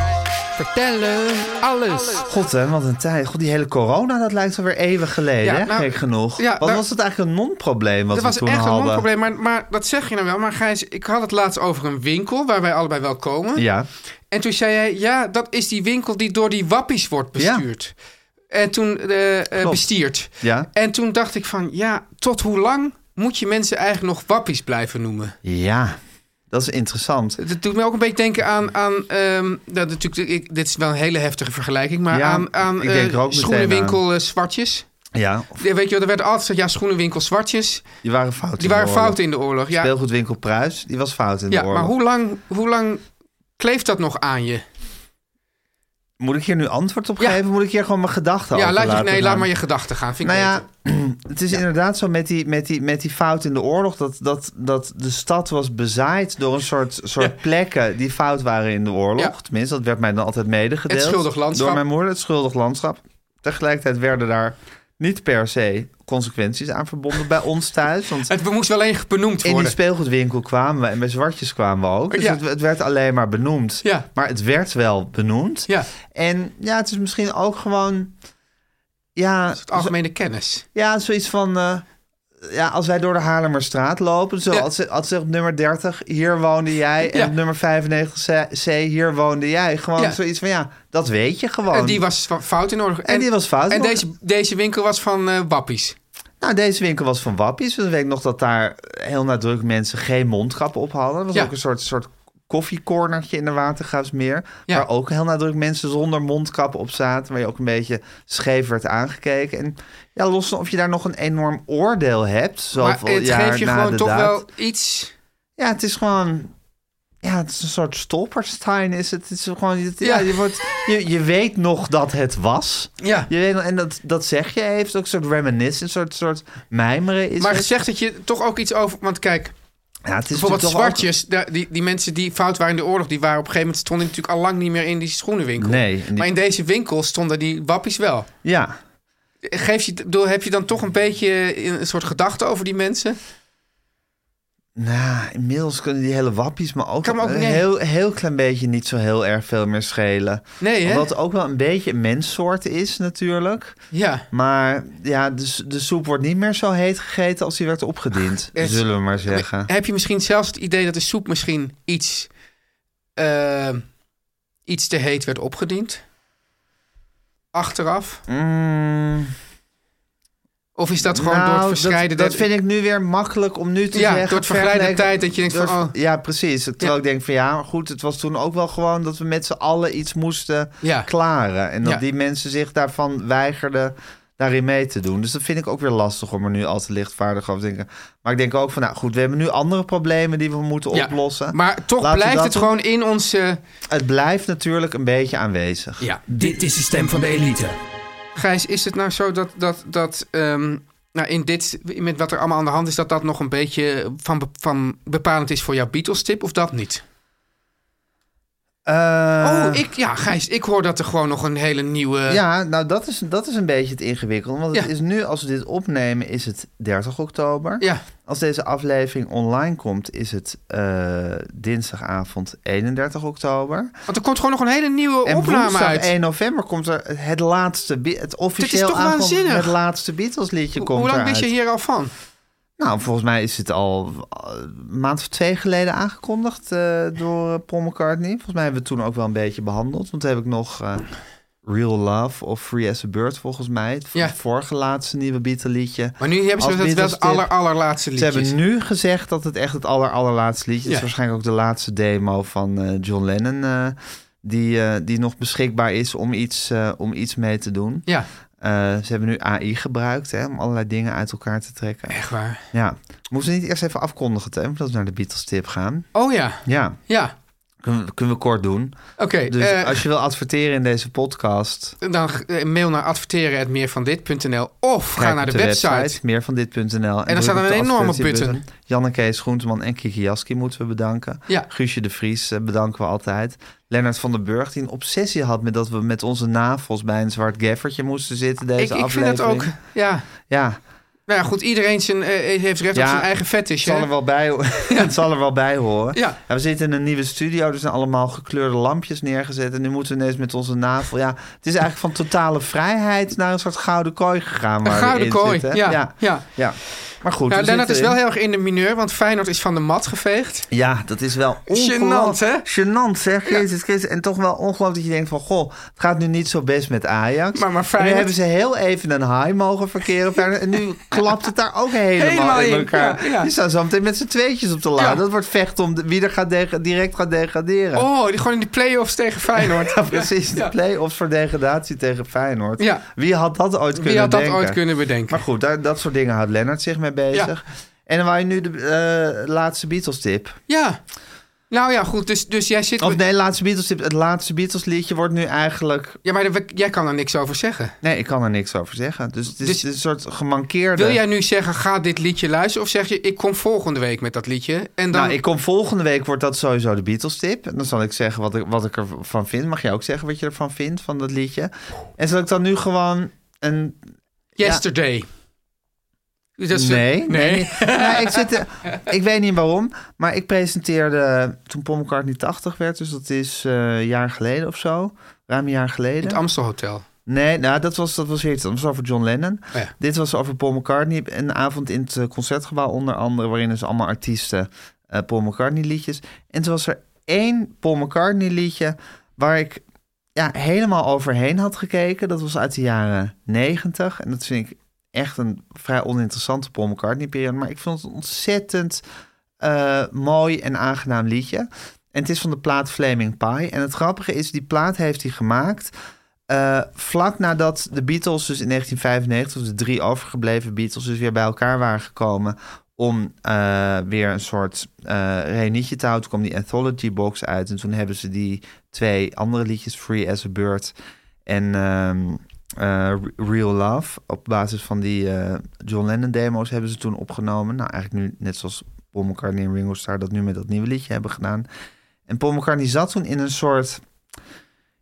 F: vertellen alles.
E: God, hè, wat een tijd. God, die hele corona, dat lijkt alweer eeuwen geleden,
F: Ja,
E: hè?
F: nou,
E: gek genoeg.
F: ja,
E: wat
F: daar-
E: was het eigenlijk een non-probleem wat
F: Dat
E: we
F: was
E: toen
F: echt een
E: hadden?
F: non-probleem, maar, maar dat zeg je nou wel. Maar Gijs, ik had het laatst over een winkel waar wij allebei wel komen.
E: Ja,
F: En toen zei jij, ja, dat is die winkel die door die wappies wordt
E: Ja.
F: bestuurd. En toen eh, eh,
E: Klopt.
F: bestierd.
E: ja,
F: En toen dacht ik van, ja, tot hoe lang moet je mensen eigenlijk nog wappies blijven noemen?
E: ja. Dat is interessant.
F: Dat doet me ook een beetje denken aan. aan ehm, dat natuurlijk, ik, dit is wel een hele heftige vergelijking. Maar
E: Ja,
F: aan, aan
E: ik denk
F: eh,
E: er ook meteen
F: schoenenwinkel eh, zwartjes.
E: Ja, of
F: Ja, weet je, wel, er werd altijd gezegd: ja, schoenenwinkel zwartjes.
E: die waren fout
F: Die waren
E: in de oorlog.
F: fout in de oorlog. Ja,
E: Speelgoedwinkel Pruis, die was fout in
F: ja
E: de oorlog.
F: maar hoe lang, hoe lang kleeft dat nog aan je?
E: Moet ik hier nu antwoord op
F: Ja.
E: geven? Moet ik hier gewoon mijn gedachten
F: ja,
E: over
F: laat je,
E: laten
F: nee, laat
E: gaan?
F: maar je gedachten gaan. Vind
E: Nou
F: ik
E: ja,
F: beter.
E: <clears throat> het is inderdaad zo met die, met, die, met die fout in de oorlog... dat, dat, dat de stad was bezaaid door een
F: <laughs>
E: soort, soort plekken die fout waren in de oorlog.
F: Ja.
E: Tenminste, dat werd mij dan altijd medegedeeld.
F: Het schuldig landschap.
E: Door mijn moeder, het schuldig landschap. Tegelijkertijd werden daar niet per se consequenties aan verbonden bij ons thuis. Want
F: <laughs> Het moest wel één benoemd
E: in die
F: worden.
E: speelgoedwinkel kwamen we en bij zwartjes kwamen we ook. Dus
F: Ja.
E: het, het werd alleen maar benoemd.
F: Ja.
E: Maar het werd wel benoemd.
F: Ja,
E: En ja, het is misschien ook gewoon... Ja,
F: het algemene kennis.
E: ja, zoiets van... eh, ja, als wij door de Haarlemmerstraat lopen... Zo,
F: Ja.
E: als, ze- als ze op nummer 30, hier woonde jij... en
F: Ja.
E: op nummer 95C, C, hier woonde jij. Gewoon
F: Ja.
E: zoiets van, ja, dat weet je gewoon.
F: En die was fa- fout in de oorlog.
E: En die was fout in
F: En
E: de
F: deze, deze winkel was van eh wappies.
E: Nou, deze winkel was van Wappies. Dus ik weet nog dat daar heel nadrukkelijk mensen geen mondkap op hadden. Er was
F: Ja.
E: ook een soort, soort koffiecornertje in de Watergraafsmeer.
F: Ja.
E: Waar ook heel nadrukkelijk mensen zonder mondkap op zaten. Waar je ook een beetje scheef werd aangekeken. En ja, los van of je daar nog een enorm oordeel hebt.
F: Maar
E: Zoveel
F: het
E: jaar
F: geeft je
E: na
F: gewoon
E: de
F: toch
E: daad.
F: wel iets.
E: Ja, het is gewoon... Ja, het is een soort Stolperstein is het. Het is gewoon... het- ja,
F: Ja.
E: je, wordt, je, je weet nog dat het was.
F: Ja.
E: Je weet nog, en dat, dat zeg je heeft ook een soort reminiscence, een soort, soort mijmeren. Is
F: Maar
E: het.
F: zegt dat je toch ook iets over. Want kijk,
E: Ja, het is natuurlijk
F: bijvoorbeeld
E: toch ook-
F: zwartjes, daar- die, die mensen die fout waren in de oorlog, die waren op een gegeven moment stonden natuurlijk al lang niet meer in die schoenenwinkel.
E: Nee, en die-
F: Maar in deze winkel stonden die wappies wel.
E: Ja.
F: Geef je, bedoel, heb je dan toch een beetje een soort gedachte over die mensen?
E: Nou, inmiddels kunnen die hele wappies me ook,
F: Kan me ook
E: een
F: niet-
E: heel, heel klein beetje niet zo heel erg veel meer schelen.
F: Nee, hè?
E: Wat ook wel een beetje een menssoort is natuurlijk.
F: Ja.
E: Maar ja, de, s- de soep wordt niet meer zo heet gegeten als die werd opgediend.
F: echt?
E: zullen we maar zeggen.
F: Heb je misschien zelfs het idee dat de soep misschien iets, eh, iets te heet werd opgediend? Achteraf?
E: Mm,
F: Of is dat gewoon
E: nou,
F: door het verscheiden...
E: dat, dat vind ik nu weer makkelijk om nu te
F: Ja,
E: zeggen.
F: door het vergelijden
E: vergeleken-
F: tijd dat je denkt
E: door-
F: van, oh.
E: Ja, precies. Terwijl
F: Ja.
E: ik denk van ja, maar goed, het was toen ook wel gewoon dat we met z'n allen iets moesten
F: Ja.
E: klaren. En dat
F: Ja.
E: die mensen zich daarvan weigerden daarin mee te doen. Dus dat vind ik ook weer lastig om er nu al te lichtvaardig over te denken. Maar ik denk ook van, nou goed, we hebben nu andere problemen die we moeten
F: Ja,
E: oplossen.
F: Maar toch
E: Laten we
F: blijft
E: dat
F: het
E: doen.
F: gewoon in onze...
E: Het blijft natuurlijk een beetje aanwezig.
F: Ja.
H: Dit is de stem van de elite.
F: Gijs, is het nou zo dat, dat, dat ehm, nou in dit, met wat er allemaal aan de hand is, dat dat nog een beetje van, be- van bepalend is voor jouw Beatles-tip of dat niet?
E: Eh,
F: oh, ik, ja, Gijs, ik hoor dat er gewoon nog een hele nieuwe...
E: Ja, nou dat is, dat is een beetje het ingewikkelde. Want
F: Eh. Ja.
E: het is nu, als we dit opnemen, is het 30 oktober.
F: Ja.
E: Als deze aflevering online komt, is het eh, dinsdagavond 31 oktober.
F: want er komt gewoon nog een hele nieuwe
E: En
F: Oh, opname
E: woensdag
F: uit.
E: 1 november komt er het laatste, Be- het officieel
F: toch
E: aangekondigd-
F: waanzinnig?
E: het laatste Beatles liedje
F: Hoe-
E: komt
F: Hoe lang wist je
E: eruit.
F: hier al van?
E: Nou, volgens mij is het al eh, een maand of twee geleden aangekondigd eh, door eh, Paul McCartney. Volgens mij hebben we het toen ook wel een beetje behandeld. Want toen heb ik nog eh, Real Love of Free as a Bird, volgens mij. Het
F: Ja.
E: vorige laatste nieuwe Beatle liedje.
F: Maar nu hebben ze
E: Als
F: dat wel het
E: Beatles-tip.
F: aller, allerlaatste
E: Ze
F: liedjes.
E: hebben nu gezegd dat het echt het aller, allerlaatste liedje
F: Ja.
E: is. Waarschijnlijk ook de laatste demo van eh, John Lennon. eh, die, eh, die nog beschikbaar is om iets, eh, om iets mee te doen.
F: Ja,
E: Eh, ze hebben nu AI gebruikt hè, om allerlei dingen uit elkaar te trekken.
F: echt waar.
E: Ja. Moeten we niet eerst even afkondigen, Tim, voordat we naar de Beatles tip gaan?
F: Oh ja,
E: Ja,
F: ja.
E: kunnen we, kunnen we kort doen.
F: Oké,
E: Dus
F: eh,
E: als je wil adverteren in deze podcast,
F: dan eh, mail naar adverteren.meervandit.nl of ga
E: kijk
F: naar de,
E: op
F: website.
E: meer van dit.nl.
F: En dan staat er een enorme button.
E: Janne Kees Groenteman en Kiki Jaski moeten we bedanken.
F: Ja.
E: Guusje de Vries eh, bedanken we altijd. Lennart van den Burg, die een obsessie had met dat we met onze navels bij een zwart geffertje moesten zitten deze
F: Ik, ik vind
E: aflevering.
F: dat ook, ja.
E: Ja,
F: Nou ja, goed, iedereen zijn, eh, heeft recht op
E: Ja,
F: zijn eigen fetish.
E: Het zal,
F: hè?
E: er wel bij,
F: <laughs>
E: <laughs> het zal er wel bij horen.
F: Ja.
E: we zitten in een nieuwe studio. Er zijn allemaal gekleurde lampjes neergezet. En nu moeten we ineens met onze navel. Ja, het is eigenlijk van totale vrijheid naar een soort gouden kooi gegaan.
F: Een
E: waar we
F: gouden
E: in
F: kooi,
E: zitten.
F: ja. ja.
E: ja. ja. Maar goed.
F: Nou,
E: we
F: Lennart
E: zitten
F: is wel
E: in-
F: heel erg in de mineur, want Feyenoord is van de mat geveegd.
E: Ja, dat is wel
F: Gênant, hè?
E: Genant, zeg. Jezus Christus. En toch wel ongelooflijk dat je denkt van... Goh, het gaat nu niet zo best met Ajax.
F: Maar- maar
E: En nu
F: Feyenoord-
E: hebben ze heel even een high mogen verkeren. verder. En nu klapt het daar ook helemaal,
F: Helemaal
E: in
F: in,
E: elkaar.
F: ja, ja.
E: Je staat zo meteen met z'n tweetjes op de laan.
F: Ja.
E: Dat wordt vecht om de- wie er gaat deg- direct gaat degraderen.
F: Oh, die gewoon in de play-offs tegen Feyenoord.
E: Ja, precies, de
F: ja.
E: play-offs voor degradatie tegen Feyenoord.
F: Ja.
E: Wie had dat ooit <laughs> kunnen
F: Wie had dat
E: denken?
F: ooit kunnen bedenken?
E: Maar goed, daar, dat soort dingen houdt Lennart zich mee bezig. En dan wou je nu de eh, laatste Beatles-tip.
F: Ja. Nou ja, goed, dus, dus jij zit...
E: Of
F: met-
E: nee, laatste Beatles tip. Het laatste Beatles liedje wordt nu eigenlijk.
F: Ja, maar we- jij kan daar niks over zeggen.
E: Nee, ik kan er niks over zeggen. Dus het is,
F: Dus-
E: een soort gemankeerde.
F: Wil jij nu zeggen, ga dit liedje luisteren? Of zeg je, ik kom volgende week met dat liedje? En dan...
E: Nou, ik kom volgende week wordt dat sowieso de Beatles tip. En dan zal ik zeggen wat ik, wat ik ervan vind. Mag jij ook zeggen wat je ervan vindt van dat liedje? En zal ik dan nu gewoon een.
F: Yesterday. Dus dat is-
E: nee, nee. Nou, ik, zit, er- ik weet niet waarom, maar ik presenteerde toen Paul McCartney 80 werd. Dus dat is eh, een jaar geleden of zo. Ruim een jaar geleden.
F: In het Amstelhotel.
E: Nee, nou, dat was, dat was weer iets anders. Dat was over John Lennon.
F: Oh ja.
E: Dit was over Paul McCartney. Een avond in het eh, concertgebouw, onder andere, waarin dus allemaal artiesten eh, Paul McCartney liedjes. En toen was er één Paul McCartney liedje waar ik ja, helemaal overheen had gekeken. Dat was uit de jaren negentig. En dat vind ik echt een vrij oninteressante Paul McCartney-periode. Maar ik vond het een ontzettend eh, mooi en aangenaam liedje. En het is van de plaat Flaming Pie. En het grappige is, die plaat heeft hij gemaakt... eh, vlak nadat de Beatles dus in 1995... of de drie overgebleven Beatles dus weer bij elkaar waren gekomen... om eh, weer een soort eh reunietje te houden. Toen kwam die Anthology Box uit. En toen hebben ze die twee andere liedjes... Free as a Bird en ehm, eh, Real Love. Op basis van die eh, John Lennon demo's hebben ze toen opgenomen. Nou, eigenlijk nu net zoals Paul McCartney en Ringo Starr dat nu met dat nieuwe liedje hebben gedaan. En Paul McCartney zat toen in een soort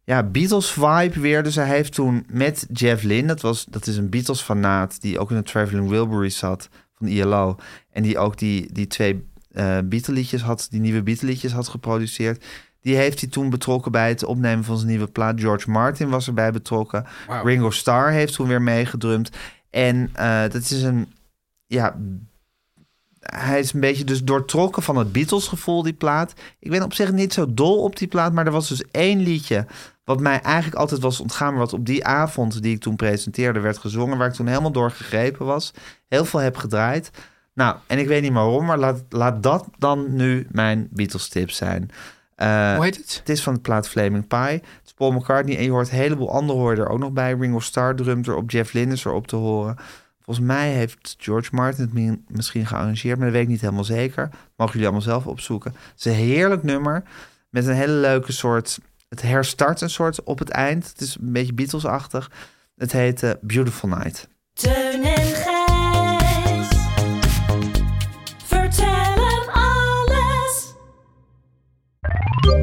E: ja, Beatles-vibe weer. Dus hij heeft toen met Jeff Lynne, dat, was, dat is een Beatles-fanaat... die ook in de Traveling Wilburys zat van ILO... en die ook die, die twee eh Beatle-liedjes had, die nieuwe Beatle-liedjes had geproduceerd... die heeft hij toen betrokken bij het opnemen van zijn nieuwe plaat. George Martin was erbij betrokken. Ringo Starr heeft toen weer meegedrumd. En eh, dat is een... Ja, hij is een beetje dus doortrokken van het Beatles gevoel, die plaat. Ik ben op zich niet zo dol op die plaat, maar er was dus één liedje... wat mij eigenlijk altijd was ontgaan... maar wat op die avond die ik toen presenteerde werd gezongen... waar ik toen helemaal door gegrepen was. Heel veel heb gedraaid. Nou, en ik weet niet waarom, maar laat, laat dat dan nu mijn Beatles-tip zijn. Eh,
F: Hoe heet het?
E: het is van de plaat Flaming Pie. Het is Paul McCartney en je hoort een heleboel andere hoor je er ook nog bij. Ringo Starr drumt erop, Jeff Lynne is erop te horen. Volgens mij heeft George Martin het mi- misschien gearrangeerd, maar dat weet ik niet helemaal zeker. Mogen jullie allemaal zelf opzoeken. Het is een heerlijk nummer met een hele leuke soort... Het herstart een soort op het eind. Het is een beetje Beatles-achtig. Het heet eh, Beautiful Night.
I: Teun en Gijs. Vertel hem alles.